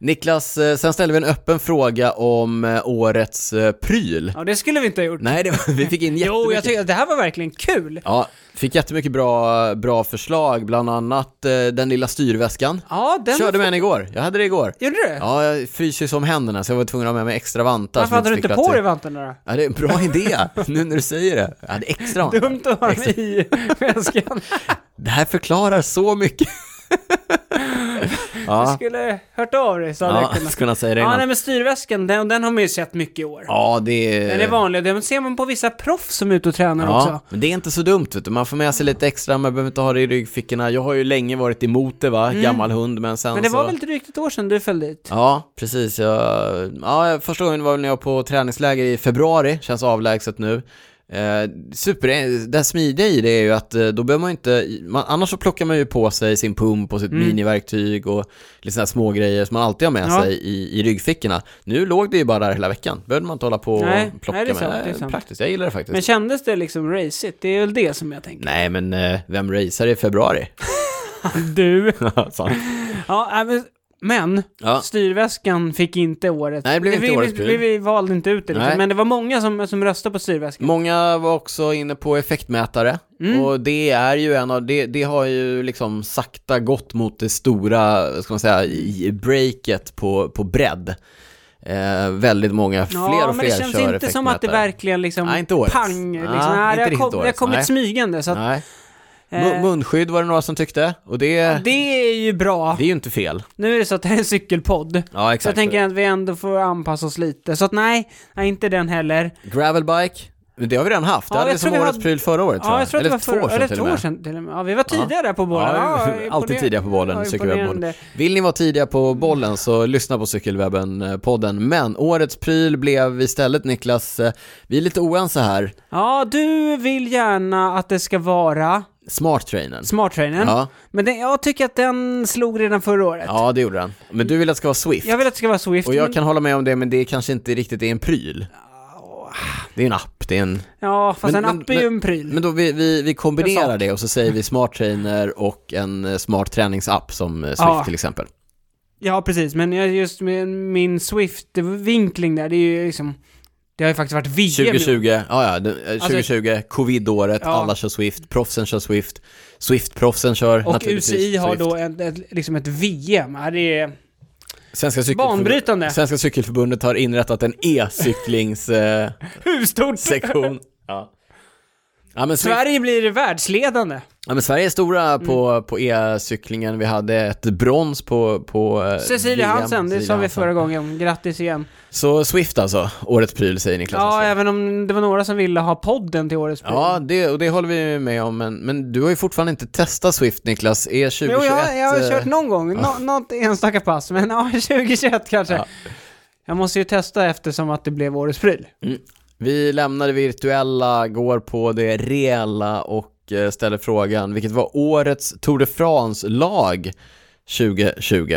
Speaker 1: Niklas, eh, sen ställde vi en öppen fråga om eh, årets eh, pryl.
Speaker 2: Ja, det skulle vi inte ha gjort.
Speaker 1: Nej, det var, vi fick in jättemycket.
Speaker 2: jo, jag tycker att det här var verkligen kul.
Speaker 1: Ja, fick jättemycket bra, bra förslag, bland annat eh, den lilla styrväskan.
Speaker 2: Ja, den...
Speaker 1: Körde med den igår, jag hade det igår.
Speaker 2: Gjorde du?
Speaker 1: Ja, jag fryser ju som händerna så jag var tvungen att ha med mig extra vantar.
Speaker 2: Varför
Speaker 1: som
Speaker 2: hade du inte
Speaker 1: fick
Speaker 2: på
Speaker 1: plats i.
Speaker 2: dig vantarna då?
Speaker 1: Ja, det är en bra idé, nu när du säger det. Jag hade extra vantar.
Speaker 2: Dumt att ha dem i väskan.
Speaker 1: Det här förklarar så mycket.
Speaker 2: Du
Speaker 1: ja,
Speaker 2: skulle hört av dig, så hade
Speaker 1: ja
Speaker 2: jag kunnat.
Speaker 1: skulle kunna säga det
Speaker 2: Ja, nej
Speaker 1: innan.
Speaker 2: men styrväskan, den, den har man ju sett mycket i år.
Speaker 1: Ja, det
Speaker 2: Den är vanlig, den ser man på vissa proffs som är ute och tränar
Speaker 1: Eh. Ja,
Speaker 2: också.
Speaker 1: men det är inte så dumt vet du. Man får med sig lite extra, man behöver inte ha det i ryggfickorna. Jag har ju länge varit emot det va, gammal hund, men sen
Speaker 2: Mm. Men det
Speaker 1: så...
Speaker 2: var väl drygt ett år sedan du föll dit?
Speaker 1: Alltså- Ja, precis. Jag, ja, första gången var när jag var på träningsläger i februari, känns avlägset nu. Eh, super, det smidiga i det är ju att eh, då behöver man ju inte, man, annars så plockar man ju på sig sin pump och sitt miniverktyg och lite sådana små grejer som man alltid har med
Speaker 2: Mm. Ja.
Speaker 1: sig i, i ryggfickorna. Nu låg det ju bara där hela veckan, behövde man inte hålla på och
Speaker 2: Nej,
Speaker 1: plocka
Speaker 2: nej, det är
Speaker 1: med.
Speaker 2: sant, det är
Speaker 1: Eh,
Speaker 2: sant.
Speaker 1: Praktiskt, jag gillar det faktiskt.
Speaker 2: Men kändes det liksom racigt? Det är väl det som jag tänker.
Speaker 1: Nej men eh, vem racear i februari?
Speaker 2: Du.
Speaker 1: Sant.
Speaker 2: Ja, nej, men, men
Speaker 1: ja.
Speaker 2: styrväskan fick inte året.
Speaker 1: Nej, det blev inte
Speaker 2: vi,
Speaker 1: årets
Speaker 2: vi,
Speaker 1: pryl.
Speaker 2: vi valde inte ut det liksom.
Speaker 1: Nej.
Speaker 2: Men det var många som, som röstade på styrväskan.
Speaker 1: Många var också inne på effektmätare
Speaker 2: Mm.
Speaker 1: och det är ju en av, det, det har ju liksom sakta gått mot det stora, vad ska man säga, i- breaket på, på bredd. Eh, väldigt många, fler
Speaker 2: ja,
Speaker 1: och
Speaker 2: men det
Speaker 1: fler
Speaker 2: känns
Speaker 1: kör
Speaker 2: inte som att det
Speaker 1: effektmätare.
Speaker 2: verkligen liksom
Speaker 1: Nej, inte årets.
Speaker 2: pang. Liksom.
Speaker 1: Ja,
Speaker 2: nej,
Speaker 1: inte
Speaker 2: det har
Speaker 1: riktigt
Speaker 2: kom- det har
Speaker 1: årets,
Speaker 2: kommit
Speaker 1: nej.
Speaker 2: smygande. Så att,
Speaker 1: Nej.
Speaker 2: eh,
Speaker 1: Mu- Munskydd var det några som tyckte och det, det...
Speaker 2: det är ju bra.
Speaker 1: är ju inte fel.
Speaker 2: Nu är det så att det här är en cykelpodd.
Speaker 1: Ja,
Speaker 2: Så jag tänker att vi ändå får anpassa oss lite. Så att nej, nej inte den heller.
Speaker 1: Gravelbike, men det har vi redan haft.
Speaker 2: Ja,
Speaker 1: det hade
Speaker 2: jag
Speaker 1: vi som
Speaker 2: tror vi
Speaker 1: årets
Speaker 2: hade-
Speaker 1: pryl förra året
Speaker 2: Ja, jag tror att
Speaker 1: Eller
Speaker 2: det var
Speaker 1: två
Speaker 2: förra,
Speaker 1: år sedan
Speaker 2: eller
Speaker 1: till
Speaker 2: två
Speaker 1: och med.
Speaker 2: år sedan till och med. Ja, vi var tidiga där på bollen.
Speaker 1: Ja,
Speaker 2: imponer-
Speaker 1: alltid tidiga på bollen,
Speaker 2: ja,
Speaker 1: cykelwebben.
Speaker 2: imponerande.
Speaker 1: Vill ni vara tidiga på bollen så lyssna på Cykelwebben-podden. Men årets pryl blev istället, Niklas, eh, vi är lite oense här,
Speaker 2: Ja, du vill gärna att det ska vara
Speaker 1: smarttrainern.
Speaker 2: smarttrainern.
Speaker 1: Ja.
Speaker 2: Men den, jag tycker att den slog redan förra året.
Speaker 1: Ja, det gjorde den. Men du vill att det ska vara Swift.
Speaker 2: Jag vill att det ska vara Swift.
Speaker 1: Och jag
Speaker 2: men-
Speaker 1: kan hålla med om det, men det kanske inte riktigt är en pryl. Det är en app, det är en...
Speaker 2: Ja, fast
Speaker 1: Men-
Speaker 2: en
Speaker 1: men-
Speaker 2: app är ju
Speaker 1: men-
Speaker 2: en pryl.
Speaker 1: Men då vi, vi, vi
Speaker 2: En
Speaker 1: kombinerar
Speaker 2: sak.
Speaker 1: det och så säger vi smarttrainer och en eh, smart träningsapp som eh, Swift
Speaker 2: Ja.
Speaker 1: till exempel.
Speaker 2: Ja, precis. Men jag, just med min Swift-vinkling där, det är ju liksom... Det har ju faktiskt varit VM i år.
Speaker 1: 2020, ja, ja, det- eh, 2020 covid-året,
Speaker 2: Alltså- Ja.
Speaker 1: alla kör Swift, proffsen kör Swift, Swift-proffsen kör
Speaker 2: Och
Speaker 1: naturligtvis
Speaker 2: UCI har
Speaker 1: Swift.
Speaker 2: då ett, ett, liksom ett VM. Ja, Det är
Speaker 1: Svenska cykelförbundet,
Speaker 2: banbrytande.
Speaker 1: Svenska cykelförbundet har inrättat en e-cyklings-sektion.
Speaker 2: Hur stort?
Speaker 1: ja. Ja, men Swift,
Speaker 2: Sverige Mm. blir världsledande.
Speaker 1: ja, men Sverige är stora på, på e-cyklingen. Vi hade ett brons på, på eh,
Speaker 2: Cecilia
Speaker 1: VM.
Speaker 2: Hansen, det
Speaker 1: Cecilia
Speaker 2: sa vi
Speaker 1: Hansen.
Speaker 2: förra gången. Grattis igen.
Speaker 1: Så Swift alltså, årets pryl säger Niklas.
Speaker 2: Ja,
Speaker 1: Hasslund.
Speaker 2: även om det var några som ville ha podden till årets pris.
Speaker 1: Ja, det, och det håller vi med om, men, men du har ju fortfarande inte testat Swift, Niklas. E E2021...
Speaker 2: Jo, jag, jag har
Speaker 1: eh,
Speaker 2: kört någon gång. Nå, något enstaka pass, men ja, 2021 kanske.
Speaker 1: Ja.
Speaker 2: Jag måste ju testa eftersom att det blev årets pryl.
Speaker 1: Vi lämnar det virtuella, går på det reella och eh, ställer frågan, vilket var årets Tour de France-lag 2020?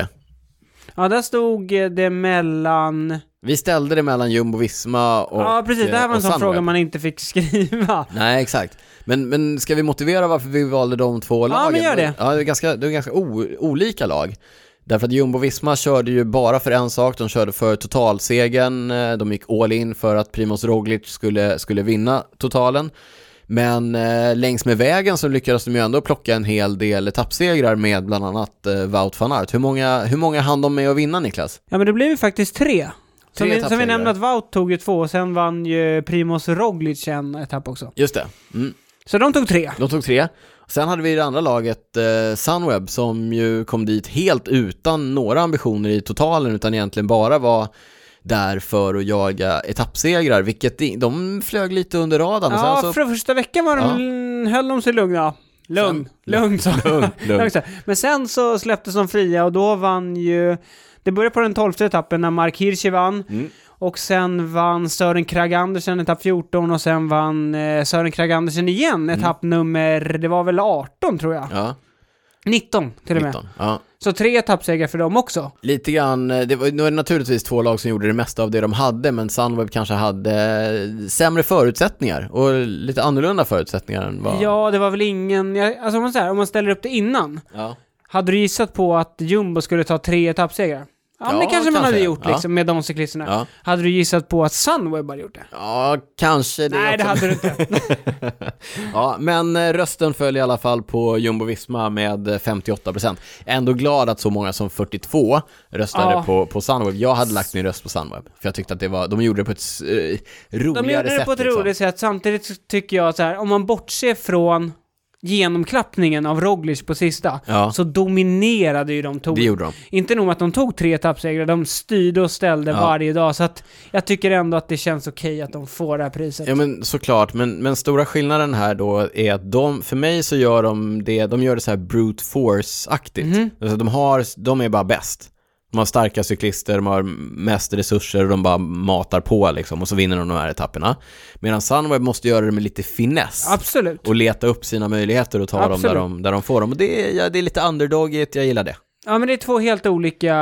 Speaker 2: Ja, där stod eh, det mellan...
Speaker 1: Vi ställde det mellan Jumbo-Visma och
Speaker 2: ja, precis. Det här var en
Speaker 1: och
Speaker 2: sån
Speaker 1: Sunweb.
Speaker 2: fråga man inte fick skriva.
Speaker 1: Nej, exakt. Men, men ska vi motivera varför vi valde de två lagen?
Speaker 2: men gör det.
Speaker 1: Ja, det är ganska, det är ganska o, olika lag. Därför att Jumbo-Visma körde ju bara för en sak, de körde för totalsegern, eh, de gick all in för att Primoz Roglic skulle, skulle vinna totalen. Men eh, längs med vägen så lyckades de ju ändå plocka en hel del etappsegrar med bland annat eh, Wout van Aert. Hur många, hur många hann de med att vinna, Niklas?
Speaker 2: Ja, men det blev ju faktiskt tre.
Speaker 1: Tre
Speaker 2: Som, vi, som vi
Speaker 1: etappsegrar.
Speaker 2: nämnde att Wout tog ju två och sen vann ju Primoz Roglic en etapp också.
Speaker 1: Just det. Mm.
Speaker 2: Så de tog tre.
Speaker 1: De tog tre. Sen hade vi det andra laget, eh, Sunweb, som ju kom dit helt utan några ambitioner i totalen, utan egentligen bara var där för att jaga etappsegrar, vilket i- de flög lite under radarn.
Speaker 2: Ja,
Speaker 1: Sen så...
Speaker 2: för första veckan var de, höll de sig lugna. Lugn,
Speaker 1: Sen-
Speaker 2: lugn, så.
Speaker 1: Lugn,
Speaker 2: lugn. så. Men sen så
Speaker 1: Mm.
Speaker 2: släpptes de fria och då vann ju... Det började på den tolfte etappen när Mark Hirschi vann. Och sen vann Sören Kragh Andersen etapp 14 och sen vann eh, Sören Kragh Andersen igen
Speaker 1: Mm.
Speaker 2: etapp nummer, det var väl 18 tror jag.
Speaker 1: Ja,
Speaker 2: 19 till och med.
Speaker 1: 19. Ja.
Speaker 2: Så tre etappsegrar för dem också.
Speaker 1: Lite grann, eh, det var nu är det naturligtvis två lag som gjorde det mesta av det de hade, men Sunweb kanske hade eh, sämre förutsättningar och lite annorlunda förutsättningar än vad...
Speaker 2: Ja, det var väl ingen, jag, alltså om man, så här, om man ställer upp det innan,
Speaker 1: ja.
Speaker 2: hade du gissat på att jumbo skulle ta tre etappsegrar? Ja, men det
Speaker 1: Ja,
Speaker 2: kanske, man
Speaker 1: kanske.
Speaker 2: hade gjort
Speaker 1: Ja.
Speaker 2: liksom med de cyklisterna.
Speaker 1: Ja.
Speaker 2: Hade du gissat på att Sunweb hade gjort det?
Speaker 1: Ja, kanske det
Speaker 2: Nej, det
Speaker 1: också.
Speaker 2: hade du inte.
Speaker 1: Ja, men eh, rösten föll i alla fall på Jumbo Visma med eh, 58%. Ändå glad att så många som 42 röstade
Speaker 2: Ja.
Speaker 1: på, på Sunweb. Jag hade lagt min röst på Sunweb, för jag tyckte att det var, de gjorde det på ett s- eh, roligare
Speaker 2: De gjorde det
Speaker 1: sätt.
Speaker 2: på ett
Speaker 1: liksom.
Speaker 2: roligt sätt. Samtidigt så tycker jag att så här, om man bortser från genomklappningen av Roglic på sista,
Speaker 1: Ja.
Speaker 2: så dominerade ju de
Speaker 1: Det
Speaker 2: tog.
Speaker 1: gjorde de.
Speaker 2: Inte nog med att de tog tre etappsegrar, de styrde och ställde
Speaker 1: Ja.
Speaker 2: varje dag. Så att jag tycker ändå att det känns okej att de får det här priset.
Speaker 1: Ja men såklart, men, men stora skillnaden här då är att de, för mig så gör de det, de gör det så här brute force-aktigt. Alltså de har, de är bara bäst. De har starka cyklister, de har mest resurser och de bara matar på liksom och så vinner de de här etapperna. Medan Sunweb måste göra det med lite finess.
Speaker 2: Absolut.
Speaker 1: Och leta upp sina möjligheter och ta dem där,
Speaker 2: Absolut.
Speaker 1: de där de får dem. Och det är, ja, det är lite underdogigt, jag gillar det.
Speaker 2: Ja, men det är två helt olika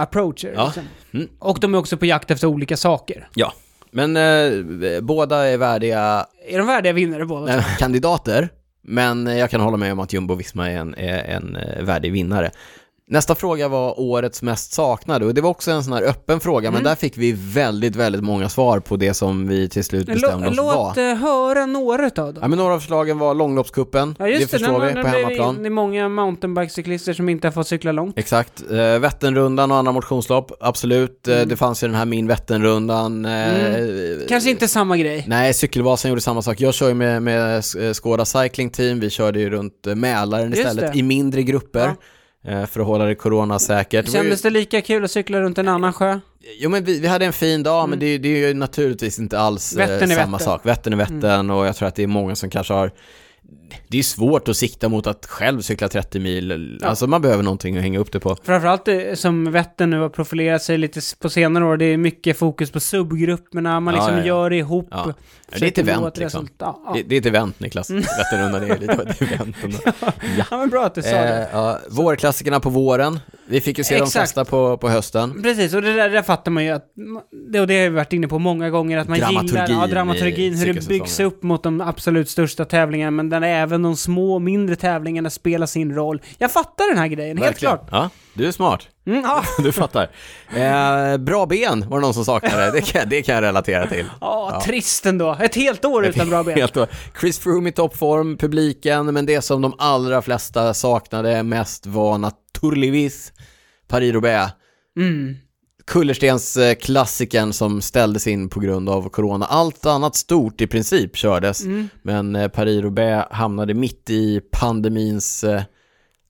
Speaker 2: approacher.
Speaker 1: Ja.
Speaker 2: Liksom.
Speaker 1: Mm.
Speaker 2: Och de är också på jakt efter olika saker.
Speaker 1: Ja. Men eh, båda är värdiga
Speaker 2: Är de värdiga vinnare båda?
Speaker 1: Nej, kandidater, men jag kan hålla med om att Jumbo Visma är en, är en eh, värdig vinnare. Nästa fråga var årets mest saknade och det var också en sån här öppen fråga,
Speaker 2: Mm.
Speaker 1: men där fick vi väldigt, väldigt många svar på det som vi till slut bestämde
Speaker 2: Lå-
Speaker 1: oss
Speaker 2: låt
Speaker 1: var.
Speaker 2: eh, höra några av dem.
Speaker 1: Ja, men några av förslagen var långloppskuppen,
Speaker 2: Ja,
Speaker 1: det
Speaker 2: just det.
Speaker 1: förstår
Speaker 2: när
Speaker 1: vi
Speaker 2: man-
Speaker 1: på
Speaker 2: när det-
Speaker 1: hemmaplan.
Speaker 2: Det är många mountainbikecyklister som inte har fått cykla långt.
Speaker 1: Exakt, eh, Vätternrundan och andra motionslopp, absolut.
Speaker 2: Mm.
Speaker 1: Eh, Det fanns ju den här Min Vätternrundan. eh,
Speaker 2: Kanske inte samma grej.
Speaker 1: Nej, Cykelvasan gjorde samma sak. Jag kör ju med, med eh, Skåda Cycling Team, vi körde ju runt eh, Mälaren
Speaker 2: Just
Speaker 1: istället
Speaker 2: det.
Speaker 1: i mindre grupper. eh, För att hålla det coronasäkert. Det var
Speaker 2: Kändes
Speaker 1: ju,
Speaker 2: det lika kul att cykla runt en annan sjö?
Speaker 1: jo men vi, vi hade en fin dag, men det,
Speaker 2: Mm.
Speaker 1: är- det är ju naturligtvis inte alls eh,
Speaker 2: Vättern är
Speaker 1: samma
Speaker 2: Vättern.
Speaker 1: sak. Vättern är
Speaker 2: Mm.
Speaker 1: Vättern och jag tror att det är många som kanske har det är svårt att sikta mot att själv cykla 30 mil, alltså man behöver någonting att hänga upp det på.
Speaker 2: Framförallt eh, som Vättern nu har profilerat sig lite s- på senare år, det är mycket fokus på subgrupperna, man
Speaker 1: Ja,
Speaker 2: liksom
Speaker 1: ja, ja.
Speaker 2: gör det ihop.
Speaker 1: Ja. Ja, det är
Speaker 2: försöker
Speaker 1: ett event,
Speaker 2: nå ett
Speaker 1: liksom.
Speaker 2: resultat. Ja, Mm.
Speaker 1: Det,
Speaker 2: ja.
Speaker 1: det är ett event Niklas, Vätternrundan är ju lite av ett event. ändå.
Speaker 2: ja, men bra att du sa det.
Speaker 1: Eh, ja, vårklassikerna på våren, vi fick ju se de
Speaker 2: Exakt.
Speaker 1: flesta på, på hösten.
Speaker 2: Precis, och det där, det där fattar man ju att, det, och det har vi varit inne på många gånger, att man gillar
Speaker 1: Dramaturgin
Speaker 2: ja,
Speaker 1: i
Speaker 2: dramaturgin, hur det
Speaker 1: cykelsäsongen.
Speaker 2: byggs upp mot de absolut största tävlingarna, men där även de små, mindre tävlingarna spelar sin roll. Jag fattar den här grejen,
Speaker 1: Verkligen.
Speaker 2: helt klart.
Speaker 1: Ja, du är smart.
Speaker 2: Mm, ja.
Speaker 1: Du fattar. Eh, bra ben var det någon som saknade. Det kan, det kan jag relatera till.
Speaker 2: Ja, trist ändå. Ett helt år utan bra ben.
Speaker 1: Helt och- Chris Froome i toppform, publiken, men det som de allra flesta saknade mest var naturligtvis Paris-Roubaix.
Speaker 2: Mm.
Speaker 1: Kullerstens eh, klassikern som ställdes in på grund av corona. Allt annat stort i princip kördes,
Speaker 2: Mm.
Speaker 1: men eh, Paris-Roubaix hamnade mitt i pandemins eh,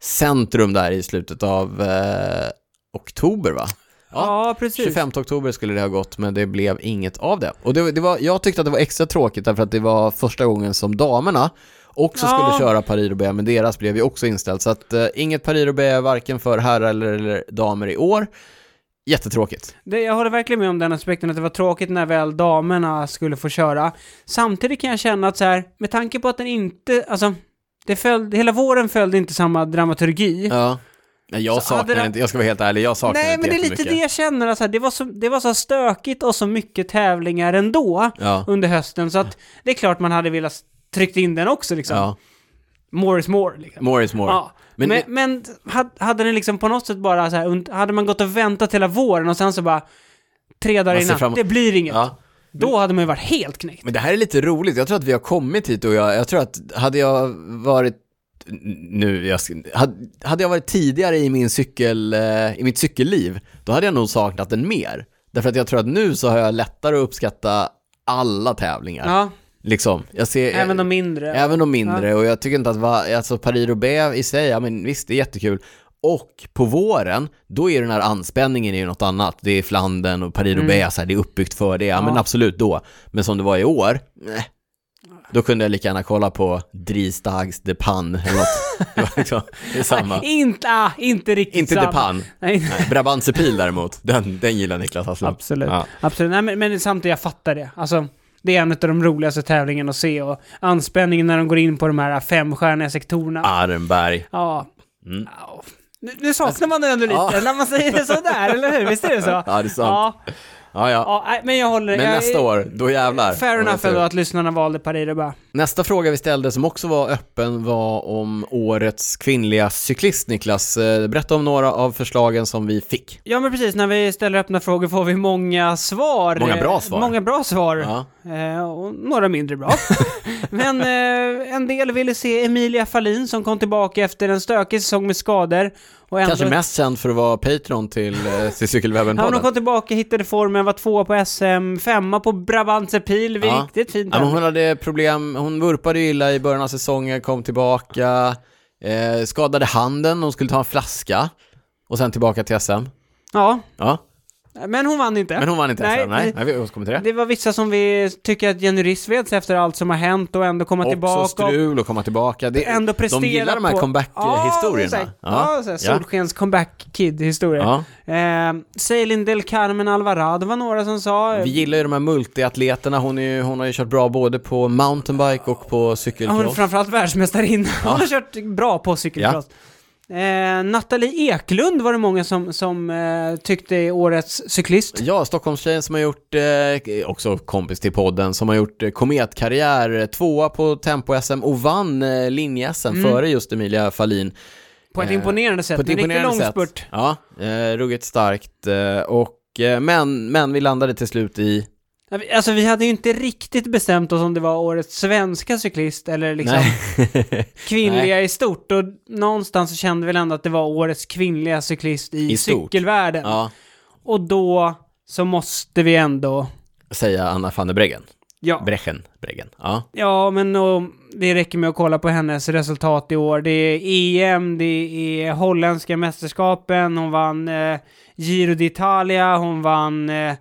Speaker 1: centrum där i slutet av eh, oktober va?
Speaker 2: Ja, precis.
Speaker 1: 25 oktober skulle det ha gått, men det blev inget av det. Och det, det var, jag tyckte att det var extra tråkigt därför att det var första gången som damerna också
Speaker 2: Ja.
Speaker 1: skulle köra Paris-Roubaix, men deras blev ju också inställt. Så att eh, inget Paris-Roubaix varken för herrar eller, eller damer i år. Jättetråkigt.
Speaker 2: Det, jag håller verkligen med om den aspekten att det var tråkigt när väl damerna skulle få köra. Samtidigt kan jag känna att så här, med tanke på att den inte, alltså, det följde, hela våren följde inte samma dramaturgi.
Speaker 1: Ja. Nej, jag
Speaker 2: Så
Speaker 1: saknar
Speaker 2: hade det-
Speaker 1: inte, jag ska vara helt ärlig, jag saknar
Speaker 2: Nej,
Speaker 1: inte
Speaker 2: men det är lite det
Speaker 1: jättemycket.
Speaker 2: jag känner. Alltså, det, var så, det var så stökigt och så mycket tävlingar ändå
Speaker 1: Ja.
Speaker 2: under hösten, så att det är klart man hade velat tryckt in den också liksom.
Speaker 1: Ja.
Speaker 2: More is more, liksom.
Speaker 1: More is more.
Speaker 2: Ja. Men, men, had- hade den liksom på något sätt bara så här, und- hade man gått och väntat hela våren och sen så bara tre dagar
Speaker 1: Man ser
Speaker 2: innan,
Speaker 1: fram-
Speaker 2: det blir inget.
Speaker 1: ja.
Speaker 2: Då hade man ju varit helt knäckt.
Speaker 1: Men det här är lite roligt, jag tror att vi har kommit hit och jag, jag tror att hade jag varit nu, jag, ska- hade, hade jag varit tidigare i, min cykel, eh, i mitt cykelliv, då hade jag nog saknat den mer. Därför att jag tror att nu så har jag lättare att uppskatta alla tävlingar.
Speaker 2: Ja,
Speaker 1: Liksom. Jag ser,
Speaker 2: även de mindre.
Speaker 1: Även de mindre, och jag tycker inte att va, alltså Paris-Roubaix i sig, ja men visst det är jättekul. Och på våren, då är den här anspänningen är ju något annat. Det är
Speaker 2: Mm.
Speaker 1: Flandern och Paris-Roubaix, så här, det är uppbyggt för det, ja, men absolut då. Men som det var i år, nej. Då kunde jag lika gärna kolla på Dristags de Pan eller något. Det var liksom, det är samma.
Speaker 2: Inte, ah, inte riktigt
Speaker 1: Inte de
Speaker 2: samma.
Speaker 1: Pan.
Speaker 2: Nej,
Speaker 1: Nej, Brabantse Pil däremot, den, den gillar Niklas Hasslund.
Speaker 2: Absolut.
Speaker 1: Ja.
Speaker 2: Absolut. Nej, men, men samtidigt, jag fattar det. Alltså, det är en av de roligaste tävlingarna att se och anspänningen när de går in på de här femstjärniga sektorerna.
Speaker 1: Arnberg.
Speaker 2: Ja. Ja. Nu, nu saknar man den ändå lite
Speaker 1: Mm. Ja.
Speaker 2: när man säger det sådär, eller hur? Visst är det så?
Speaker 1: Ja, det är sant.
Speaker 2: Ja,
Speaker 1: Ja, ja.
Speaker 2: ja, nej, men jag håller...
Speaker 1: Men
Speaker 2: jag,
Speaker 1: nästa år, då jävlar.
Speaker 2: Fair
Speaker 1: Då
Speaker 2: enough
Speaker 1: vet du.
Speaker 2: ändå att lyssnarna valde Paris Roubaix.
Speaker 1: Nästa fråga vi ställde som också var öppen var om årets kvinnliga cyklist, Niklas. Eh, Berätta om några av förslagen som vi fick.
Speaker 2: Ja, men precis. När vi ställer öppna frågor får vi många svar.
Speaker 1: Många bra
Speaker 2: Eh,
Speaker 1: svar.
Speaker 2: Många bra svar.
Speaker 1: Ja.
Speaker 2: Eh, och några mindre bra. men eh, en del ville se Emilia Fahlin som kom tillbaka efter en stökig säsong med skador. Och ändå...
Speaker 1: Kanske mest känd för att vara Patreon till, eh, till
Speaker 2: Ja, men hon
Speaker 1: Cykelwebben-podden.
Speaker 2: kom tillbaka, hittade formen, var tvåa på SM, femma på Brabantse Pil. Det är
Speaker 1: Ja.
Speaker 2: Riktigt fint.
Speaker 1: Ja, men hon hade problem, hon vurpade ju illa i början av säsongen, kom tillbaka, eh, skadade handen, hon skulle ta en flaska och sen tillbaka till SM.
Speaker 2: ja,
Speaker 1: Ja,
Speaker 2: men hon vann inte.
Speaker 1: men hon vann inte
Speaker 2: Nej,
Speaker 1: SM. Nej,
Speaker 2: det-
Speaker 1: Nej vi återkommer till det.
Speaker 2: Det var vissa som vi tycker att Jenny Rissveds efter allt som har hänt och ändå komma
Speaker 1: Också
Speaker 2: tillbaka. och-
Speaker 1: strul och komma tillbaka. Det,
Speaker 2: ändå prestera
Speaker 1: de gillar de här
Speaker 2: på...
Speaker 1: comeback-historierna.
Speaker 2: Ja, ja. ja solskens comeback-kid-historia.
Speaker 1: Ja.
Speaker 2: Eh, Celine del Carmen Alvarado var några som sa. eh,
Speaker 1: Vi gillar ju de här multiatleterna, hon, är ju, hon har ju kört bra både på mountainbike och på
Speaker 2: Hon är
Speaker 1: cykelcross.
Speaker 2: framförallt världsmästarinna. Hon har kört bra på cykelcross. Eh, Nathalie Eklund var det många som, som eh, tyckte är årets cyklist.
Speaker 1: Ja, Stockholmstjejen som har gjort, eh, också kompis till podden, som har gjort eh, kometkarriär, eh, tvåa på tempo-SM och vann eh, linje-SM före just Emilia Fahlin.
Speaker 2: På ett
Speaker 1: Eh,
Speaker 2: imponerande sätt.
Speaker 1: På ett
Speaker 2: Mm. en riktig
Speaker 1: imponerande
Speaker 2: långspurt.
Speaker 1: sätt. Ja, eh, ruggigt starkt. Eh, och, eh, men, men vi landade till slut i,
Speaker 2: Ja, vi- Alltså vi hade ju inte riktigt bestämt oss om det var årets svenska cyklist eller liksom
Speaker 1: nej,
Speaker 2: kvinnliga i stort. Och någonstans så kände vi väl ändå att det var årets kvinnliga cyklist i,
Speaker 1: I stort.
Speaker 2: cykelvärlden.
Speaker 1: ja,
Speaker 2: Och då så måste vi ändå...
Speaker 1: säga Anna van der Breggen.
Speaker 2: Ja,
Speaker 1: Brechen, Breggen. Ja.
Speaker 2: ja men och, det räcker med att kolla på hennes resultat i år. Det är EM, det är holländska mästerskapen, hon vann eh, Giro d'Italia, hon vann eh,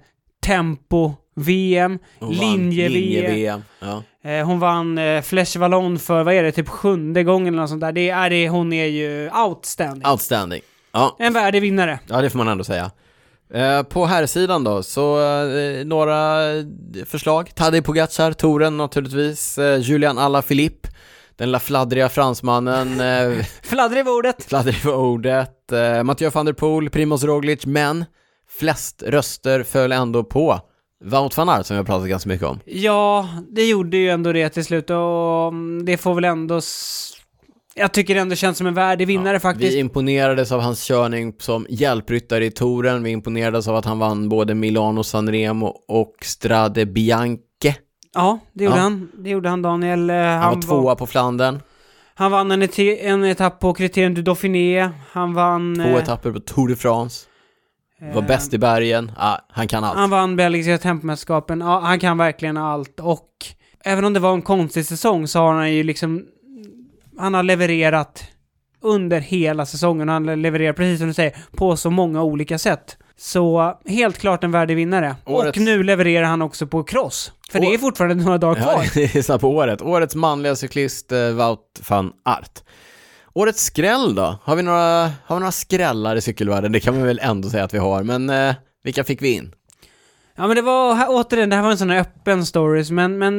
Speaker 2: Tempo-VM,
Speaker 1: Hon vann
Speaker 2: Linje-VM.
Speaker 1: linje-VM. Ja.
Speaker 2: Eh, Hon vann eh, Flesh Vallon för, vad är det, typ sjunde gången eller något sånt där. Det är, det, hon är ju outstanding.
Speaker 1: Outstanding. Ja.
Speaker 2: En värdig vinnare.
Speaker 1: Ja, det får man ändå säga. Eh, På här sidan då, så eh, några eh, förslag. Tadej Pogacar, Toren naturligtvis, eh, Julian Alaphilippe, den lilla fladdriga fransmannen, eh,
Speaker 2: Fladdrig var ordet.
Speaker 1: fladdrig för ordet, eh, Mathieu van der Poel, Primoz Roglic, men flest röster föll ändå på Wout van Aert som vi har pratat ganska mycket om.
Speaker 2: Ja, det gjorde ju ändå det till slut och mm, det får väl ändå... s- Jag tycker det ändå känns som en värdig vinnare faktiskt.
Speaker 1: Vi imponerades av hans körning som hjälpryttare i touren, vi imponerades av att han vann både Milano Sanremo och Strade Bianche.
Speaker 2: Ja, det gjorde
Speaker 1: Ja.
Speaker 2: han. Det gjorde han Daniel. Eh, Han,
Speaker 1: Han var tvåa på Flandern.
Speaker 2: han vann en, eti- en etapp på Criterium du Dauphiné. Han vann...
Speaker 1: Två
Speaker 2: eh,
Speaker 1: etapper på Tour de France. Var
Speaker 2: eh,
Speaker 1: bäst i bergen. Ah, han kan allt.
Speaker 2: Han vann belgiska tempomästerskapen. Ja, han kan verkligen allt och även om det var en konstig säsong så har han ju liksom... Han har levererat under hela säsongen. Han levererar, precis som du säger, på så många olika sätt. Så helt klart en värdig vinnare.
Speaker 1: Årets-
Speaker 2: Och nu levererar han också på cross. För det
Speaker 1: Å-
Speaker 2: är fortfarande några dagar kvar.
Speaker 1: Ja, det är så här på året. Årets manliga cyklist, eh, Wout van Aert. Årets skräll då? Har vi, några, har vi några skrällar i cykelvärlden? Det kan man väl ändå säga att vi har, men eh, vilka fick vi in?
Speaker 2: Ja men det var, här, återigen, det här var en sån här öppen stories, men, men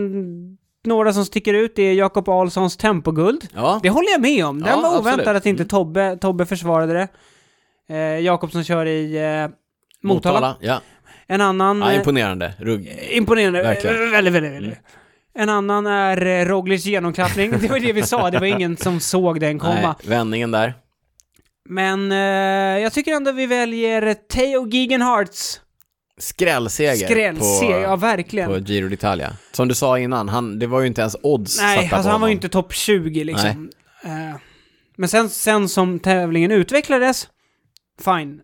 Speaker 2: några som sticker ut är Jakob Ahlssons tempoguld.
Speaker 1: Ja,
Speaker 2: Det håller jag med om. Den
Speaker 1: Ja,
Speaker 2: var
Speaker 1: absolut. Mm.
Speaker 2: oväntad att inte Tobbe, Tobbe försvarade det. Eh, Jakobsson kör i eh, Motala.
Speaker 1: Ja.
Speaker 2: En annan...
Speaker 1: ja,
Speaker 2: eh,
Speaker 1: imponerande. Rugg.
Speaker 2: imponerande.
Speaker 1: Verkligen.
Speaker 2: Eh, Väldigt, väldigt, väldigt. En annan är eh, Roglic genomklappning. Det var det vi sa, det var ingen som såg den komma.
Speaker 1: Nej, vändningen där.
Speaker 2: Men eh, jag tycker ändå vi väljer Theo Gigenharts
Speaker 1: Skrällseger
Speaker 2: skrällseger. Ja,
Speaker 1: på,
Speaker 2: verkligen.
Speaker 1: på Giro d'Italia. Som du sa innan, han, det var ju inte ens odds
Speaker 2: Nej,
Speaker 1: satta på
Speaker 2: alltså han var
Speaker 1: honom.
Speaker 2: ju inte topp 20 liksom. Eh, men sen, sen som tävlingen utvecklades, fine.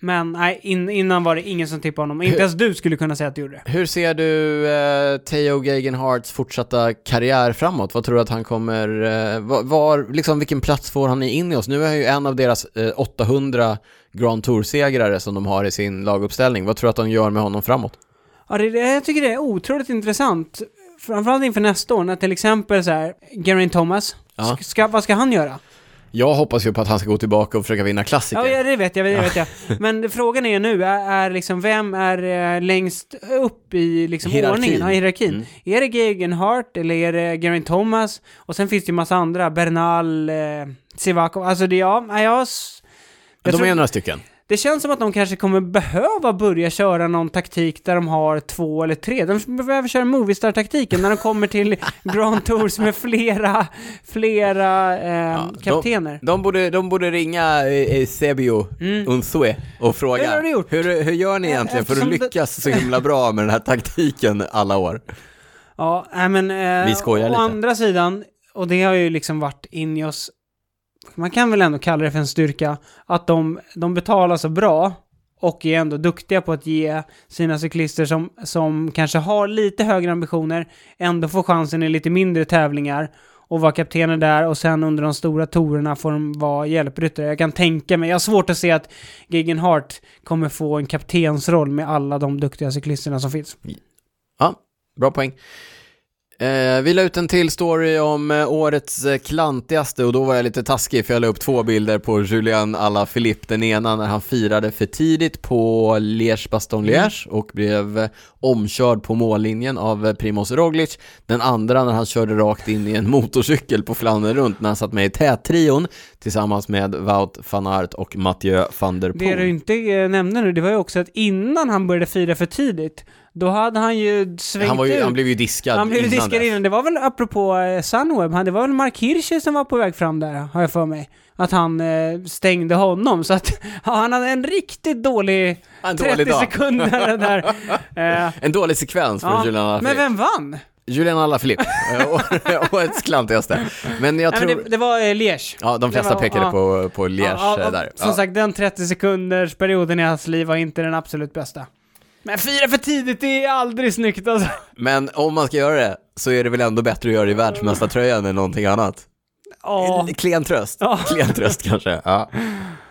Speaker 2: Men nej, in, innan var det ingen som tippade honom. Inte ens du skulle kunna säga att du gjorde det.
Speaker 1: Hur ser du eh, Theo Gegenharts fortsatta karriär framåt? Vad tror du att han kommer, eh, var, var, liksom vilken plats får han in i oss? Nu är han ju en av deras eh, 800 Grand Tour-segrare som de har i sin laguppställning. Vad tror du att de gör med honom framåt?
Speaker 2: Ja, det, det, jag tycker det är otroligt intressant. framförallt inför nästa år, när till exempel så här, Geraint Thomas,
Speaker 1: Ja.
Speaker 2: sk- ska, vad ska han göra?
Speaker 1: Jag hoppas ju på att han ska gå tillbaka och försöka vinna klassiker.
Speaker 2: Ja, ja, det vet jag, det vet jag. Men frågan är nu, är, är liksom, vem är eh, längst upp i liksom,
Speaker 1: Hierarkin.
Speaker 2: ordningen, ja, hierarkin?
Speaker 1: Mm.
Speaker 2: Är det Gegenhardt eller är det Geraint Thomas? Och sen finns det ju massa andra, Bernal, eh, Sivakov, alltså det, ja, nej, jag, har s- jag
Speaker 1: Men de
Speaker 2: tror-
Speaker 1: är några stycken.
Speaker 2: det känns som att de kanske kommer behöva börja köra någon taktik där de har två eller tre. De behöver köra Movistar-taktiken när de kommer till Grand Tours med flera, flera eh,
Speaker 1: de-
Speaker 2: kaptener.
Speaker 1: De borde, de borde ringa eh, eh, Sebio Unzue och
Speaker 2: Hur
Speaker 1: fråga
Speaker 2: Mm. har du gjort?
Speaker 1: hur, hur gör ni egentligen för att
Speaker 2: Eftersom det-
Speaker 1: lyckas så himla bra med den här taktiken alla år?
Speaker 2: Ja, nej men... Eh,
Speaker 1: Vi skojar
Speaker 2: å
Speaker 1: lite.
Speaker 2: andra sidan, och det har ju liksom varit in i oss, man kan väl ändå kalla det för en styrka, att de, de betalar så bra och är ändå duktiga på att ge sina cyklister som, som kanske har lite högre ambitioner, ändå får chansen i lite mindre tävlingar och vara kaptener där och sen under de stora tourerna får de vara hjälpryttare. Jag kan tänka mig, jag har svårt att se att Gegenhardt kommer få en kaptensroll med alla de duktiga cyklisterna som finns.
Speaker 1: Ja, bra poäng. Eh, vi la ut en till story om eh, årets eh, klantigaste och då var jag lite taskig för jag la upp två bilder på Julian Alaphilippe. Den ena när han firade för tidigt på Liège-Bastogne-Liège
Speaker 2: Mm.
Speaker 1: och blev eh, omkörd på mållinjen av eh, Primoz Roglic. Den andra när han körde rakt in i en motorcykel på Flandern runt när han satt med i tättrion tillsammans med Wout van Aert och Mathieu van der
Speaker 2: Det du
Speaker 1: Poel.
Speaker 2: inte eh, nämnde nu, det var ju också att innan han började fira för tidigt, då hade han ju svängt
Speaker 1: Han, var ju,
Speaker 2: ut.
Speaker 1: han blev ju diskad
Speaker 2: han blev ju diskad
Speaker 1: dess.
Speaker 2: innan. Det var väl apropå eh, Sunweb, han- det var väl Mark Hirscher som var på väg fram där, har jag för mig. Att han eh, stängde honom, så att ja, han hade en riktigt dålig
Speaker 1: En dålig
Speaker 2: 30
Speaker 1: dag.
Speaker 2: sekunder där. Eh,
Speaker 1: En dålig sekvens för
Speaker 2: ja.
Speaker 1: Julian Alaphilippe.
Speaker 2: Men vem vann?
Speaker 1: Julian Alaphilippe, Eh, årets klantigaste. Men jag
Speaker 2: Nej,
Speaker 1: tror...
Speaker 2: men det, det var eh, Liège.
Speaker 1: Ja, de flesta
Speaker 2: det var-
Speaker 1: pekade
Speaker 2: ja.
Speaker 1: på, på Liège
Speaker 2: Ja, ja,
Speaker 1: eh, där.
Speaker 2: Som
Speaker 1: Ja.
Speaker 2: sagt, den 30 sekunders perioden i hans liv var inte den absolut bästa. Men fira för tidigt, det är aldrig snyggt alltså.
Speaker 1: Men om man ska göra det så är det väl ändå bättre att göra det i världsmästartröjan än någonting annat.
Speaker 2: Ja.
Speaker 1: Klen tröst.
Speaker 2: Ja.
Speaker 1: Klen tröst kanske. Ja.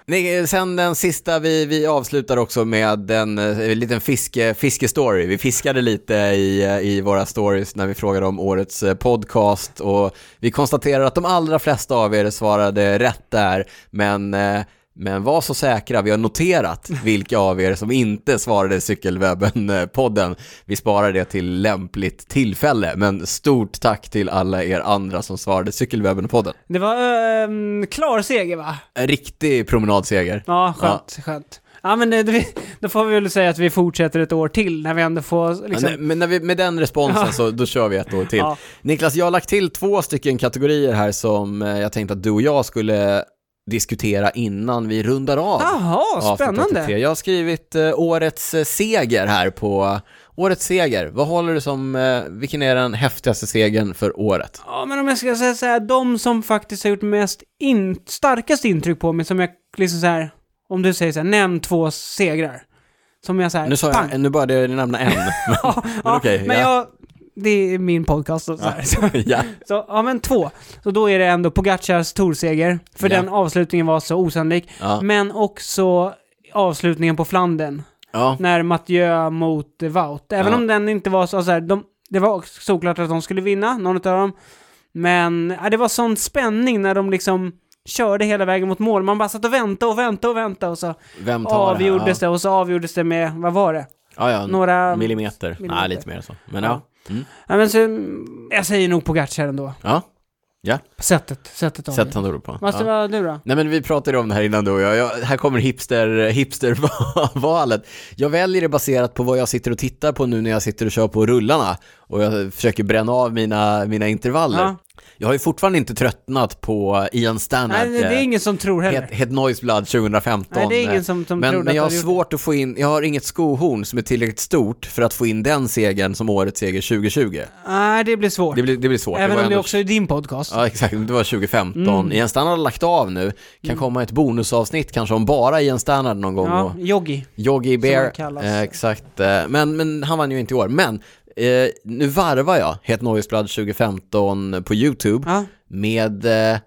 Speaker 1: Nej, eh, sen den sista, vi, vi avslutar också med en eh, liten fiske, fiskestory. Vi fiskade lite i, eh, i våra stories när vi frågade om årets eh, podcast och vi konstaterar att de allra flesta av er svarade rätt där, men eh, men var så säkra, vi har noterat vilka av er som inte svarade Cykelwebben-podden. Vi sparar det till lämpligt tillfälle, men stort tack till alla er andra som svarade Cykelwebben-podden.
Speaker 2: Det var ehm, klar seger va?
Speaker 1: En riktig promenadseger.
Speaker 2: Ja, skönt, skönt. Ja men det, det, då får vi väl säga att vi fortsätter ett år till när vi ändå får liksom...
Speaker 1: Ja, nej, Men när vi, med den responsen så då kör vi ett år till.
Speaker 2: Ja.
Speaker 1: Niklas, jag har lagt till två stycken kategorier här som eh, jag tänkte att du och jag skulle diskutera innan vi rundar av.
Speaker 2: Jaha,
Speaker 1: avsnitt 83.
Speaker 2: Ah, spännande!
Speaker 1: Jag har skrivit eh, årets eh, seger här på årets seger. Vad håller du som, eh, vilken är den häftigaste segern för året?
Speaker 2: Ja men om jag ska säga så här, de som faktiskt har gjort mest in, starkast intryck på mig som jag liksom så här, om du säger så här, nämn två segrar. Som jag så här,
Speaker 1: Nu sa
Speaker 2: pang!
Speaker 1: jag, nu började jag nämna en.
Speaker 2: ja, ja,
Speaker 1: okej,
Speaker 2: men
Speaker 1: ja.
Speaker 2: jag, det är min podcast och så här. Så,
Speaker 1: ja.
Speaker 2: Så, ja men två. Så då är det ändå Pogacars torseger, för
Speaker 1: Ja.
Speaker 2: den avslutningen var så osannolik.
Speaker 1: Ja.
Speaker 2: Men också avslutningen på Flandern,
Speaker 1: Ja.
Speaker 2: när Mathieu mot eh, Wout. Även
Speaker 1: Ja.
Speaker 2: om den inte var så, så här, de, det var också såklart att de skulle vinna, någon av dem. Men ja, det var sån spänning när de liksom körde hela vägen mot mål. Man bara satt och väntade och väntade och väntade och så
Speaker 1: Vem tar det?
Speaker 2: avgjordes
Speaker 1: här?
Speaker 2: det och så avgjordes det med, vad var det?
Speaker 1: Ja, ja,
Speaker 2: Några...
Speaker 1: millimeter.
Speaker 2: millimeter.
Speaker 1: Nej, lite mer än så. Men ja. Mm.
Speaker 2: Ja, men så, jag säger nog Pogacar ändå.
Speaker 1: ja.
Speaker 2: Sättet, sättet
Speaker 1: Sätt
Speaker 2: avgjordes.
Speaker 1: han ord på.
Speaker 2: Vad
Speaker 1: Ja.
Speaker 2: var du då?
Speaker 1: Nej men vi pratade om det här innan du och jag, jag här kommer hipster, eh, hipstervalet. Jag väljer det baserat på vad jag sitter och tittar på nu när jag sitter och kör på rullarna och jag försöker bränna av mina, mina intervaller.
Speaker 2: Ja.
Speaker 1: Jag har ju fortfarande inte tröttnat på Ian Stannard,
Speaker 2: Nej, det, det är
Speaker 1: eh,
Speaker 2: ingen som tror heller.
Speaker 1: Het, Het Noise Blood 2015.
Speaker 2: Nej, det är
Speaker 1: eh,
Speaker 2: ingen som, som
Speaker 1: men,
Speaker 2: tror
Speaker 1: men jag har
Speaker 2: att du
Speaker 1: svårt att få in, jag har inget skohorn som är tillräckligt stort för att få in den segern som årets seger 2020.
Speaker 2: Nej, det blir svårt.
Speaker 1: Det blir, det blir svårt.
Speaker 2: Även
Speaker 1: var
Speaker 2: om det
Speaker 1: ändå-
Speaker 2: också är din podcast.
Speaker 1: Ja, exakt. Det var 2015.
Speaker 2: Mm.
Speaker 1: Ian Stannard har lagt av nu. Kan komma ett bonusavsnitt kanske om bara Ian Stannard någon gång. Och
Speaker 2: Ja, Yogi.
Speaker 1: Yogi
Speaker 2: han
Speaker 1: Bear.
Speaker 2: kallas.
Speaker 1: Eh, exakt. Eh, Men, men han vann ju inte i år. Men eh, nu varvar jag Het Noise Blood 2015 på YouTube
Speaker 2: Ja.
Speaker 1: med eh,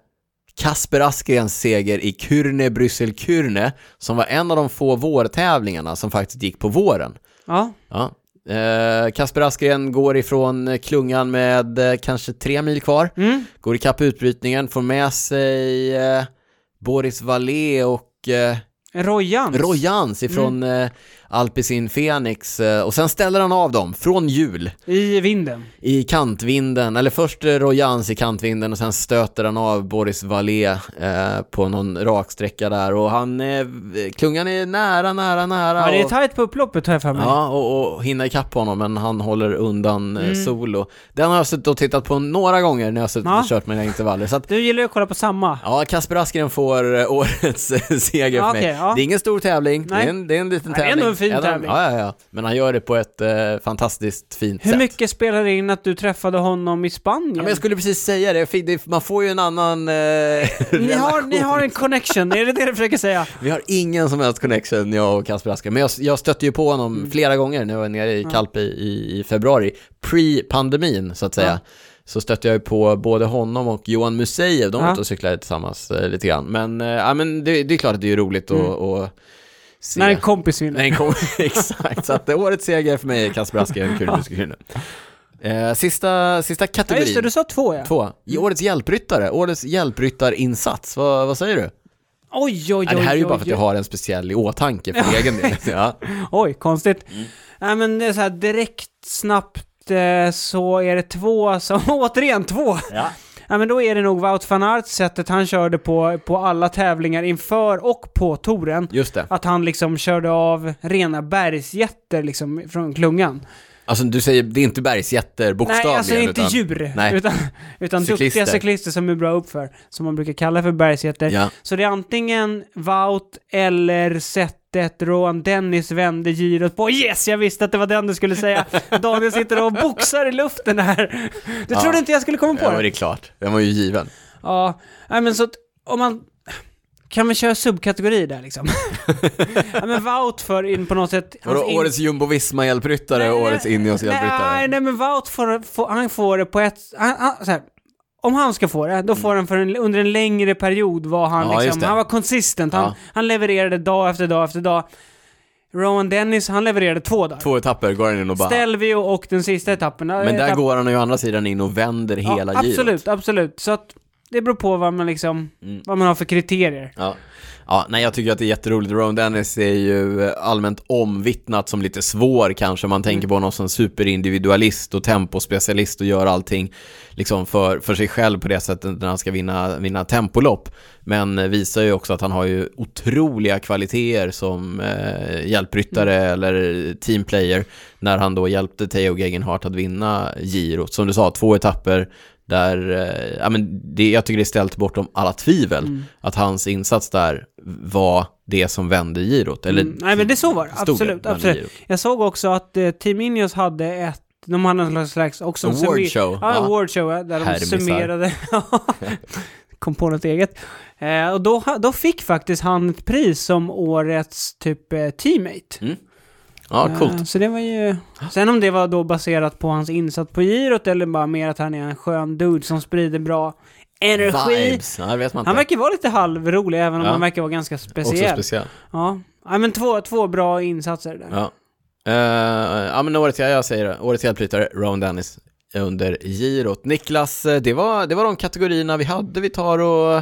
Speaker 1: Kasper Askrens seger i Kürne Bryssel Kürne som var en av de få vårtävlingarna som faktiskt gick på våren.
Speaker 2: ja.
Speaker 1: Ja, Eh, Kasper Askren går ifrån klungan med eh, kanske tre mil kvar.
Speaker 2: Mm.
Speaker 1: Går ikapp utbrytningen, får med sig eh, Boris Vallée och eh,
Speaker 2: Rojans.
Speaker 1: Rojans ifrån
Speaker 2: Mm.
Speaker 1: eh, Alpecin Fenix. Eh, och sen ställer han av dem från hjul
Speaker 2: I vinden.
Speaker 1: i kantvinden. Eller först eh, Rojans i kantvinden och sen stöter han av Boris Vallée eh, på någon raksträcka där. Och han, eh, klungan är nära, nära, nära.
Speaker 2: Ja, det är
Speaker 1: och-
Speaker 2: tajt på upploppet har jag för mig.
Speaker 1: Ja, och, och hinna ikapp honom, men han håller undan eh, solo. Den har jag suttit och tittat på några gånger när jag har suttit
Speaker 2: Mm. Ja.
Speaker 1: och kört mina intervaller. Så att,
Speaker 2: Du gillar ju att kolla på samma.
Speaker 1: ja, Kasper Askren får eh, årets seger
Speaker 2: Ja,
Speaker 1: för mig.
Speaker 2: okej, ja.
Speaker 1: Det är ingen stor tävling, det
Speaker 2: Nej.
Speaker 1: är, en, det är en liten
Speaker 2: Ja, det är
Speaker 1: tävling.
Speaker 2: ändå en fin
Speaker 1: Ja, den-
Speaker 2: tävling.
Speaker 1: Ja, ja, ja. Men han gör det på ett eh, fantastiskt fint
Speaker 2: Hur
Speaker 1: sätt.
Speaker 2: mycket spelar det in att du träffade honom i Spanien?
Speaker 1: Ja, men jag skulle precis säga det, Jag fick- det- man får ju en annan eh,
Speaker 2: ni, har,
Speaker 1: relation.
Speaker 2: ni har en connection, är det det du försöker säga?
Speaker 1: Vi har ingen som helst connection, jag och Kasper Asker. Men jag, jag stötte ju på honom
Speaker 2: Mm.
Speaker 1: flera gånger när jag var nere i Kalpe i, i februari. Pre-pandemin, så att säga. Så stötte jag ju på både honom och Johan Museev. De var
Speaker 2: Ja.
Speaker 1: ute och cyklade tillsammans eh, lite grann. Men, eh, ja, men det, det är klart att det är ju roligt att att se.
Speaker 2: Mm. När en kompis vinner.
Speaker 1: När den kom, exakt. Så att det, årets seger för mig är Kasper Asker, en kul muskelkvinna. Eh, sista, sista
Speaker 2: Ja,
Speaker 1: kategorin.
Speaker 2: just det, Mm. du sa två ja.
Speaker 1: Två. Årets hjälpryttare, årets hjälpryttarinsats. Vad, vad säger du?
Speaker 2: Oj, oj, oj.
Speaker 1: Ja, det här är ju bara för att
Speaker 2: oj,
Speaker 1: jag har en speciell i åtanke för egen del. Ja.
Speaker 2: Oj, konstigt.
Speaker 1: Mm.
Speaker 2: Nej, men det är så här direkt, snabbt, eh, så är det två som... Återigen, två!
Speaker 1: Ja.
Speaker 2: Ja, men då är det nog Wout van Aert, sättet han körde på, på alla tävlingar inför och på touren.
Speaker 1: Just det.
Speaker 2: Att han liksom körde av rena bergsjätter liksom från klungan.
Speaker 1: Alltså du säger, det är inte bergsjätter bokstavligen.
Speaker 2: Nej, alltså inte
Speaker 1: utan-
Speaker 2: djur.
Speaker 1: Nej.
Speaker 2: Utan, utan
Speaker 1: Cyklister.
Speaker 2: duktiga cyklister som är bra uppför. Som man brukar kalla för bergsjätter.
Speaker 1: Ja.
Speaker 2: Så det är antingen Wout eller sättet Rohan Dennis vände girot på. Yes, jag visste att det var den du skulle säga. Daniel sitter och boxar i luften här. Du
Speaker 1: Ja.
Speaker 2: trodde inte jag skulle komma på
Speaker 1: Ja, men
Speaker 2: det.
Speaker 1: det
Speaker 2: Alltså,
Speaker 1: är klart. Den var ju given.
Speaker 2: Ja, nej men så att om man... Kan man köra subkategori där liksom? ja, men Wout för in på något sätt...
Speaker 1: Vadå,
Speaker 2: hans in-
Speaker 1: årets jumbo-visma-hjälpryttare och årets
Speaker 2: Nej,
Speaker 1: Ineos-hjälpryttare?
Speaker 2: nej, men Wout får, får, han får det på ett... Han, han, så här, om han ska få det, då får han för en, under en längre period var han
Speaker 1: Mm. Ja, just
Speaker 2: liksom,
Speaker 1: det.
Speaker 2: han var consistent. Han,
Speaker 1: Ja.
Speaker 2: han levererade dag efter dag efter dag. Rowan Dennis, han levererade två dagar.
Speaker 1: Två etapper går han in och bara...
Speaker 2: Stelvio och den sista etappen.
Speaker 1: Men där går han ju å andra sidan in och vänder hela
Speaker 2: ja,
Speaker 1: girot.
Speaker 2: Absolut, absolut. Så att det beror på vad man liksom,
Speaker 1: Mm.
Speaker 2: vad man har för kriterier.
Speaker 1: Ja. ja, nej jag tycker att det är jätteroligt. Ron Dennis är ju eh, allmänt omvittnat som lite svår kanske. Man tänker på honom som superindividualist och tempospecialist och gör allting liksom för, för sig själv på det sättet när han ska vinna, vinna tempolopp. Men eh, visar ju också att han har ju otroliga kvaliteter som eh, hjälpryttare eller teamplayer när han då hjälpte Theo Gegenhardt att vinna girot. Som du sa, två etapper där, eh, ja men det, jag tycker det är ställt bortom alla tvivel
Speaker 2: Mm.
Speaker 1: att hans insats där var det som vände girot. Eller,
Speaker 2: Mm, Nej men det så var det,
Speaker 1: Stod
Speaker 2: absolut.
Speaker 1: det, men
Speaker 2: absolut.
Speaker 1: Giro.
Speaker 2: Jag såg också att eh, Team Ineos hade ett de hade någon slags- slags också en
Speaker 1: Award
Speaker 2: summer-
Speaker 1: show,
Speaker 2: Ja,
Speaker 1: ja.
Speaker 2: award show ja, där de
Speaker 1: Hermisar.
Speaker 2: summerade. Kom på något eget. Eh, och då, ha- då fick faktiskt han ett pris som årets typ eh, teammate.
Speaker 1: ja,
Speaker 2: Eh,
Speaker 1: coolt.
Speaker 2: så det var ju... Sen om det var då baserat på hans insats på girot eller bara mer att han är en skön dude som sprider bra energi.
Speaker 1: Vibes, ja, det vet man inte.
Speaker 2: Han verkar vara lite halvrolig även om
Speaker 1: Ja.
Speaker 2: han verkar vara ganska speciell.
Speaker 1: Också speciell.
Speaker 2: Ja, ja men två, två bra insatser där.
Speaker 1: Ja. Eh, ja, men året jag, jag säger det. Årets hjälpryttare, Ron Dennis, under girot. Niklas, eh, det var, det var de kategorierna vi hade. Vi tar och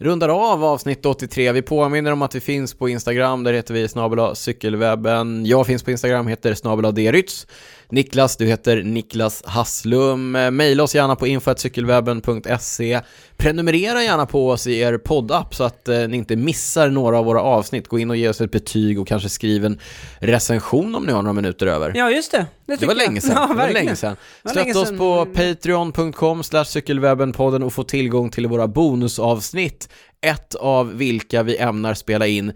Speaker 1: rundar av avsnitt 83. Vi påminner om att vi finns på Instagram, där heter vi snabel-a cykelwebben. Jag finns på Instagram, heter snabel-a drytz. Niklas, du heter Niklas Hasslum. Eh, Maila oss gärna på info.cykelwebben.se. Prenumerera gärna på oss i er poddapp så att eh, ni inte missar några av våra avsnitt. Gå in och ge oss ett betyg och kanske skriv en recension om ni har några minuter över.
Speaker 2: Ja, just det.
Speaker 1: Det var
Speaker 2: tycker jag.
Speaker 1: länge sedan.
Speaker 2: Ja,
Speaker 1: det var
Speaker 2: verkligen.
Speaker 1: länge sedan.
Speaker 2: var länge
Speaker 1: Stötta oss
Speaker 2: sedan.
Speaker 1: på patreon.com slash cykelwebbenpodden och få tillgång till våra bonusavsnitt. Ett av vilka vi ämnar spela in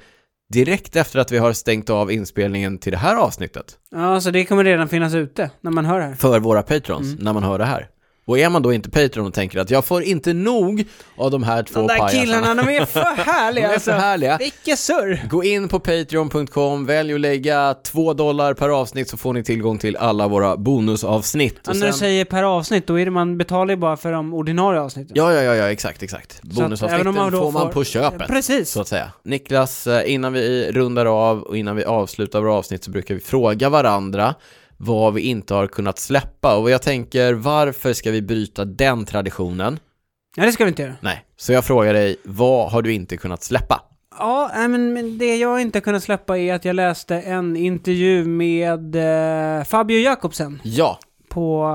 Speaker 1: direkt efter att vi har stängt av inspelningen till det här avsnittet.
Speaker 2: Ja, så det kommer redan finnas ute när man hör det här.
Speaker 1: För våra patrons,
Speaker 2: Mm.
Speaker 1: när man hör det här. Och är man då inte patron och tänker att jag får inte nog av de här två
Speaker 2: De där
Speaker 1: pajasarna.
Speaker 2: killarna, de är för härliga
Speaker 1: De är
Speaker 2: alltså.
Speaker 1: så härliga.
Speaker 2: Vilket surr!
Speaker 1: Gå in på patreon.com, välj att lägga 2 dollar per avsnitt så får ni tillgång till alla våra bonusavsnitt.
Speaker 2: Ja, när du säger per avsnitt, då är det man betalar ju bara för de ordinarie avsnitten.
Speaker 1: Ja, ja, ja, ja, exakt, exakt.
Speaker 2: Så att även
Speaker 1: Bonusavsnitten
Speaker 2: om man då
Speaker 1: får man
Speaker 2: får-
Speaker 1: på köpet,
Speaker 2: Precis.
Speaker 1: så att säga. Niklas, eh, innan vi rundar av och innan vi avslutar våra avsnitt så brukar vi fråga varandra vad vi inte har kunnat släppa. Och jag tänker, varför ska vi bryta den traditionen?
Speaker 2: Ja, det ska vi inte göra.
Speaker 1: Nej. Så jag frågar dig, vad har du inte kunnat släppa?
Speaker 2: Ja, nej, men men det jag inte kunnat släppa är att jag läste en intervju med eh, Fabio Jakobsen
Speaker 1: Ja,
Speaker 2: på,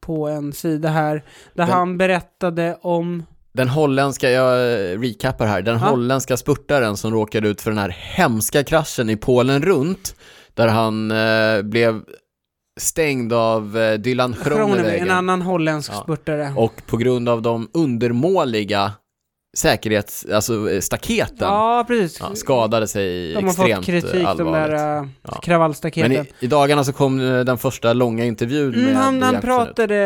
Speaker 2: på en sida här, där
Speaker 1: Den-
Speaker 2: han berättade om...
Speaker 1: den holländska, jag eh, recappar här, den
Speaker 2: Ja.
Speaker 1: holländska spurtaren som råkade ut för den här hemska kraschen i Polen runt, där han eh, blev stängd av eh, Dylan
Speaker 2: Kronewe, en
Speaker 1: Groenewegen.
Speaker 2: annan holländsk
Speaker 1: Ja.
Speaker 2: spurtare.
Speaker 1: Och på grund av de undermåliga säkerhets, alltså eh, staketen,
Speaker 2: Ja, precis.
Speaker 1: ja, skadade sig
Speaker 2: De har
Speaker 1: extremt
Speaker 2: fått kritik, de
Speaker 1: allvarligt.
Speaker 2: där eh,
Speaker 1: Ja.
Speaker 2: kravallstaketen.
Speaker 1: Men i, i dagarna så kom eh, den första långa intervjun
Speaker 2: Mm,
Speaker 1: med
Speaker 2: han, han
Speaker 1: Jakobsen ut.
Speaker 2: pratade,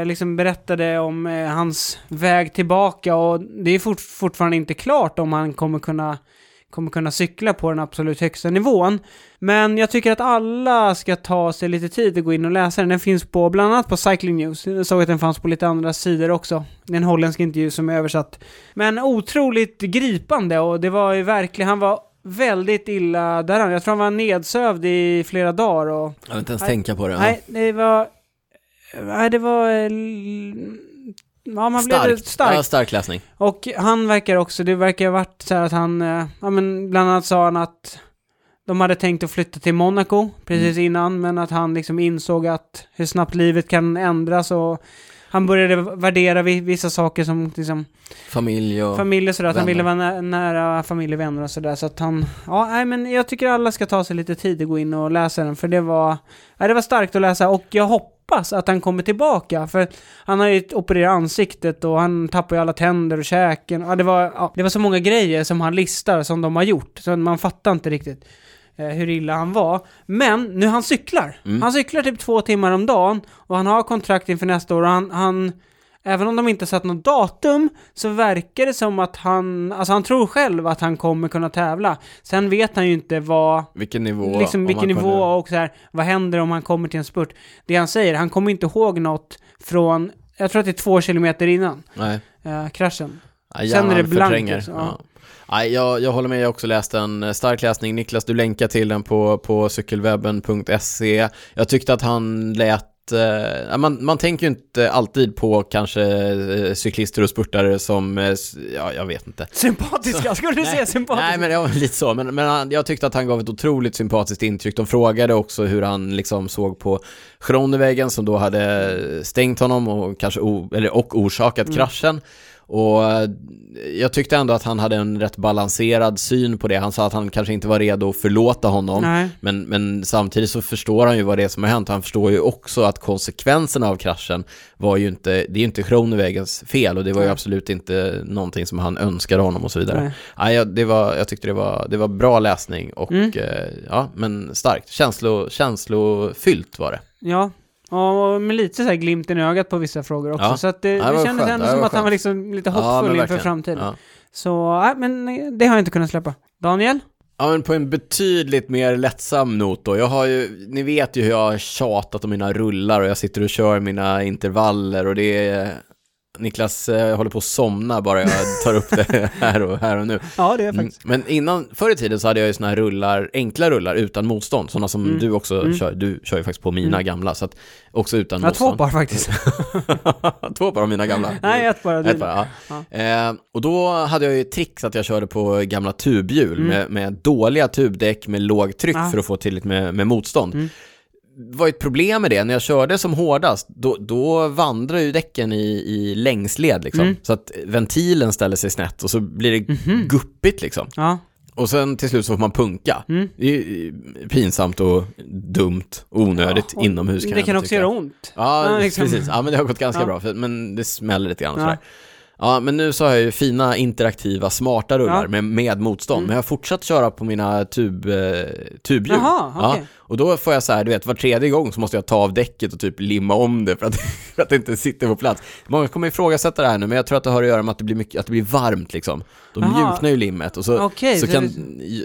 Speaker 2: eh, liksom berättade om eh, hans väg tillbaka och det är fort, fortfarande inte klart om han kommer kunna, kommer kunna cykla på den absolut högsta nivån. Men jag tycker att alla ska ta sig lite tid att gå in och läsa den. Den finns på, bland annat på Cycling News. Jag såg att den fanns på lite andra sidor också. Det är en holländsk intervju som är översatt. Men otroligt gripande och det var ju verkligen, han var väldigt illa däran. Jag tror han var nedsövd i flera dagar och
Speaker 1: Jag vill inte ens
Speaker 2: Nej.
Speaker 1: tänka på det.
Speaker 2: Nej, det var... Nej, det var... eh, l- Ja, man blev
Speaker 1: starkt.
Speaker 2: starkt. stark.
Speaker 1: Ja, stark läsning.
Speaker 2: Och han verkar också, det verkar ha varit så här att han, eh, ja men bland annat sa han att de hade tänkt att flytta till Monaco precis
Speaker 1: Mm.
Speaker 2: innan, men att han liksom insåg att hur snabbt livet kan ändras och han började värdera vi- vissa saker som liksom
Speaker 1: Familj och...
Speaker 2: familj och sådär, att han
Speaker 1: vänner.
Speaker 2: ville vara nä- nära familj och vänner och sådär. Så att han, ja nej men jag tycker alla ska ta sig lite tid att gå in och läsa den för det var, nej, det var starkt att läsa och jag hoppas att han kommer tillbaka för han har ju opererat ansiktet och han tappar ju alla tänder och käken. Ja, det, var, ja, det var så många grejer som han listar som de har gjort så man fattar inte riktigt eh, hur illa han var. Men nu han cyklar. Han cyklar typ två timmar om dagen och han har kontrakt inför nästa år och han, han Även om de inte satt något datum så verkar det som att han, alltså han tror själv att han kommer kunna tävla. Sen vet han ju inte vad,
Speaker 1: Vilken nivå.
Speaker 2: liksom
Speaker 1: om
Speaker 2: vilken
Speaker 1: man
Speaker 2: nivå
Speaker 1: kunde-
Speaker 2: och så här, vad händer om han kommer till en spurt. Det han säger, han kommer inte ihåg något från, jag tror att det är två kilometer innan
Speaker 1: Nej.
Speaker 2: eh, kraschen.
Speaker 1: Ja,
Speaker 2: Sen är det
Speaker 1: hjärnan
Speaker 2: blankt
Speaker 1: förtränger.
Speaker 2: liksom,
Speaker 1: Ja.
Speaker 2: ja.
Speaker 1: Nej, jag, jag håller med, jag har också läst en eh, stark läsning. Niklas, du länkar till den på, på cykelwebben.se. Jag tyckte att han lät eh, ja, man, man tänker ju inte alltid på kanske eh, cyklister och spurtare som, eh, s- ja jag vet inte.
Speaker 2: Sympatiska, skulle du säga sympatiska?
Speaker 1: Nej men det var lite så, men, men han, jag tyckte att han gav ett otroligt sympatiskt intryck. De frågade också hur han liksom såg på Schronevägen som då hade stängt honom och, kanske o, eller, och orsakat kraschen. Och eh, jag tyckte ändå att han hade en rätt balanserad syn på det. Han sa att han kanske inte var redo att förlåta honom.
Speaker 2: Nej.
Speaker 1: Men, men samtidigt så förstår han ju vad det är som har hänt. Han förstår ju också att konsekvenserna av kraschen var ju inte, det är ju inte Kronevägens fel och det var ju
Speaker 2: Nej.
Speaker 1: absolut inte någonting som han önskade honom och så vidare.
Speaker 2: Nej.
Speaker 1: Nej, jag, det var, jag tyckte det var, det var bra läsning och
Speaker 2: Mm.
Speaker 1: eh, ja, men starkt. Känslo, känslofyllt var det.
Speaker 2: Ja. Ja, och med lite så här glimten i ögat på vissa frågor också.
Speaker 1: Ja.
Speaker 2: Så att det,
Speaker 1: Ja, det
Speaker 2: det
Speaker 1: var
Speaker 2: kändes
Speaker 1: skönt.
Speaker 2: ändå
Speaker 1: Ja, det
Speaker 2: som
Speaker 1: var
Speaker 2: att han var
Speaker 1: skönt.
Speaker 2: liksom lite
Speaker 1: ja, men
Speaker 2: hoppfull inför
Speaker 1: verkligen.
Speaker 2: framtiden.
Speaker 1: Ja.
Speaker 2: Så, nej, men eh, det har jag inte kunnat släppa. Daniel?
Speaker 1: ja, men på en betydligt mer lättsam not då. Jag har ju, ni vet ju hur jag har tjatat om mina rullar och jag sitter och kör mina intervaller och det är Niklas eh, håller på att somna bara jag tar upp det här och, här och nu.
Speaker 2: Ja, det är
Speaker 1: Mm, Men innan, förr i tiden så hade jag ju såna här rullar, enkla rullar utan motstånd, sådana som
Speaker 2: Mm.
Speaker 1: du också
Speaker 2: Mm.
Speaker 1: kör, du kör ju faktiskt på mina
Speaker 2: Mm.
Speaker 1: gamla, så att också utan
Speaker 2: Jag har två
Speaker 1: motstånd.
Speaker 2: par faktiskt.
Speaker 1: två par av mina gamla.
Speaker 2: Nej, ett bara.
Speaker 1: Ett par, ja. Eh, och då hade jag ju ett trix att jag körde på gamla tubhjul
Speaker 2: Mm.
Speaker 1: med, med dåliga tubdäck med lågt tryck
Speaker 2: Ja.
Speaker 1: för att få tillräckligt med, med motstånd.
Speaker 2: Mm.
Speaker 1: Det var ju ett problem med det, när jag körde som hårdast, då, då vandrar ju däcken i, i längsled liksom.
Speaker 2: Mm.
Speaker 1: Så att ventilen ställer sig snett och så blir det
Speaker 2: Mhm.
Speaker 1: guppigt liksom.
Speaker 2: Ja.
Speaker 1: Och sen till slut så får man punka.
Speaker 2: Mm.
Speaker 1: Det är ju pinsamt och dumt och onödigt
Speaker 2: Och
Speaker 1: inomhus kan
Speaker 2: Det
Speaker 1: jag
Speaker 2: kan
Speaker 1: ändå
Speaker 2: också
Speaker 1: tycka.
Speaker 2: göra ont.
Speaker 1: Ja,
Speaker 2: Ja, liksom.
Speaker 1: precis. Ja, men det har gått ganska
Speaker 2: Ja.
Speaker 1: bra, för, men det smäller lite grann
Speaker 2: Ja.
Speaker 1: sådär. Ja, men nu så har jag ju fina interaktiva smarta rullar
Speaker 2: Ja.
Speaker 1: med, med motstånd,
Speaker 2: Mm.
Speaker 1: men jag har fortsatt köra på mina tub, eh, tubhjul.
Speaker 2: Jaha, okej.
Speaker 1: ja, och då får jag så här, du vet, var tredje gång så måste jag ta av däcket och typ limma om det för att, för att det inte sitter på plats. Många kommer ifrågasätta det här nu, men jag tror att det har att göra med att det blir, mycket, att det blir varmt liksom. Då
Speaker 2: Jaha.
Speaker 1: mjuknar ju limmet och så,
Speaker 2: Okej,
Speaker 1: så
Speaker 2: så
Speaker 1: kan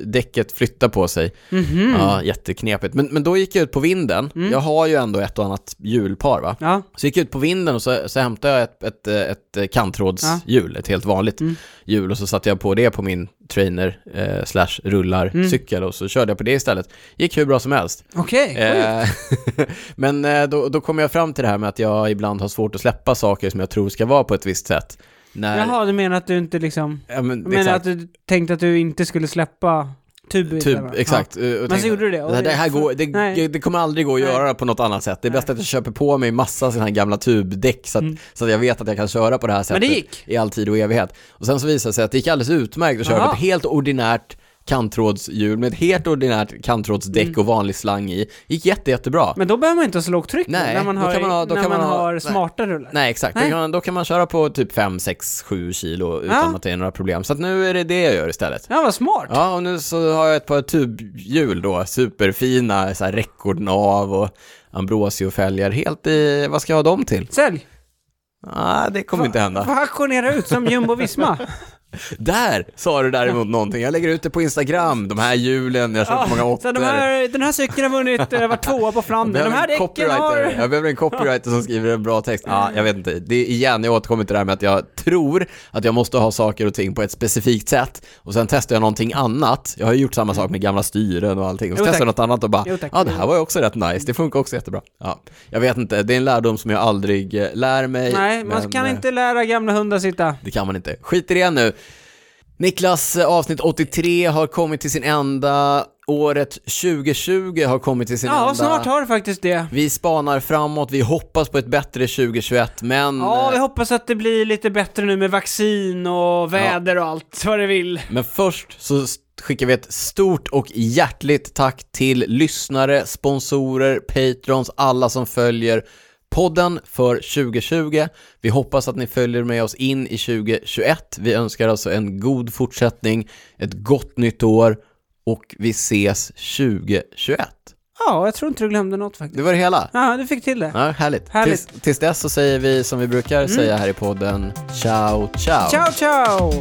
Speaker 1: däcket flytta på sig.
Speaker 2: Mhm.
Speaker 1: Ja, jätteknepigt. Men, men då gick jag ut på vinden,
Speaker 2: Mm.
Speaker 1: jag har ju ändå ett och annat hjulpar va?
Speaker 2: Ja.
Speaker 1: Så gick jag ut på vinden och så, så
Speaker 2: Mm.
Speaker 1: hämtade jag ett, ett, eh, ett kantrådshjul, ett helt vanligt hjul, och så satte jag på det på min trainer eh, slash rullar
Speaker 2: Mm.
Speaker 1: cykel och så körde jag på det istället. Gick hur bra som helst.
Speaker 2: Okej, sjukt.
Speaker 1: Eh, men eh, då, då kom jag fram till det här med att jag ibland har svårt att släppa saker som jag tror ska vara på ett visst sätt. När,
Speaker 2: Jaha, du menar att du inte liksom...
Speaker 1: ja, men,
Speaker 2: Men
Speaker 1: exakt.
Speaker 2: att du tänkte att du inte skulle släppa
Speaker 1: Typ,
Speaker 2: tubbitarna?
Speaker 1: exakt. Eh, och tänkte,
Speaker 2: gjorde du det, och
Speaker 1: Det, här-
Speaker 2: det-
Speaker 1: det, här går,
Speaker 2: nej.
Speaker 1: det, det kommer aldrig gå att
Speaker 2: Nej.
Speaker 1: göra på något annat sätt. Det är bäst att jag köper på mig massa sådana här gamla tubdäck så att, så att jag vet att jag kan köra på det här
Speaker 2: Mm. Men
Speaker 1: sättet
Speaker 2: det gick.
Speaker 1: i all tid och evighet. Och sen så visade det sig att det gick alldeles utmärkt att köra
Speaker 2: Aha.
Speaker 1: på ett helt ordinärt kanttrådshjul med ett helt ordinärt kanttrådsdäck och vanlig slang i. gick jätte, jättebra.
Speaker 2: Mm. Men då behöver man inte ha så lågt tryck
Speaker 1: Nej,
Speaker 2: när man
Speaker 1: då
Speaker 2: har,
Speaker 1: kan man ha- då
Speaker 2: när
Speaker 1: kan
Speaker 2: man
Speaker 1: man ha-
Speaker 2: har
Speaker 1: nej.
Speaker 2: smarta rullar.
Speaker 1: Nej exakt,
Speaker 2: Nej.
Speaker 1: Då, kan man, då kan man köra på typ 5, 6, 7 kilo utan
Speaker 2: Ja.
Speaker 1: att det är några problem. Så att nu är det det jag gör istället.
Speaker 2: Ja, vad smart.
Speaker 1: Ja, och nu så har jag ett par tubhjul då, superfina, så här rekordnav och ambrosiofälgar, helt i, vad ska jag ha dem till?
Speaker 2: Sälj!
Speaker 1: Nej, det kommer inte hända.
Speaker 2: Få auktionera ut som Jumbo Visma.
Speaker 1: Där sa du däremot någonting, jag lägger ut det på Instagram, de här hjulen, jag har köpt många
Speaker 2: så
Speaker 1: åttor.
Speaker 2: de här, den här cykeln har vunnit, eh, varit tvåa på
Speaker 1: Jag
Speaker 2: Flandern. De
Speaker 1: behöver
Speaker 2: här
Speaker 1: en
Speaker 2: däcken
Speaker 1: copywriter.
Speaker 2: har...
Speaker 1: Jag behöver en copywriter som skriver en bra text. Ja, jag vet inte. Det är igen, jag återkommer till det här med att jag tror att jag måste ha saker och ting på ett specifikt sätt och sen testar jag någonting annat. Jag har ju gjort samma sak med gamla styren och allting och så
Speaker 2: Jo,
Speaker 1: testar jag
Speaker 2: tack.
Speaker 1: något annat och bara,
Speaker 2: Jo,
Speaker 1: ja
Speaker 2: tack.
Speaker 1: det här var ju också rätt nice, det funkar också jättebra. Ja, jag vet inte, det är en lärdom som jag aldrig eh, lär mig.
Speaker 2: Nej, man
Speaker 1: men,
Speaker 2: kan
Speaker 1: eh,
Speaker 2: inte lära gamla hundar sitta.
Speaker 1: Det kan man inte. Skit i det nu. Niklas, eh, avsnitt 83 har kommit till sin ända. Året 2020 har kommit till sin ända.
Speaker 2: Ja, snart har du faktiskt det.
Speaker 1: Vi spanar framåt, vi hoppas på ett bättre 2021, men, eh,
Speaker 2: Ja, vi hoppas att det blir lite bättre nu med vaccin och väder och allt vad det vill.
Speaker 1: men först så s- skickar vi ett stort och hjärtligt tack till lyssnare, sponsorer, patrons, alla som följer podden för 2020. Vi hoppas att ni följer med oss in i 2021. Vi önskar alltså en god fortsättning, ett gott nytt år och vi ses 2021.
Speaker 2: Ja, jag tror inte du glömde något faktiskt.
Speaker 1: Det var det hela.
Speaker 2: Ja, du fick till det.
Speaker 1: Ja, härligt.
Speaker 2: Härligt.
Speaker 1: Tills, tills dess så säger vi som vi brukar säga här i podden, ciao ciao.
Speaker 2: Ciao, ciao!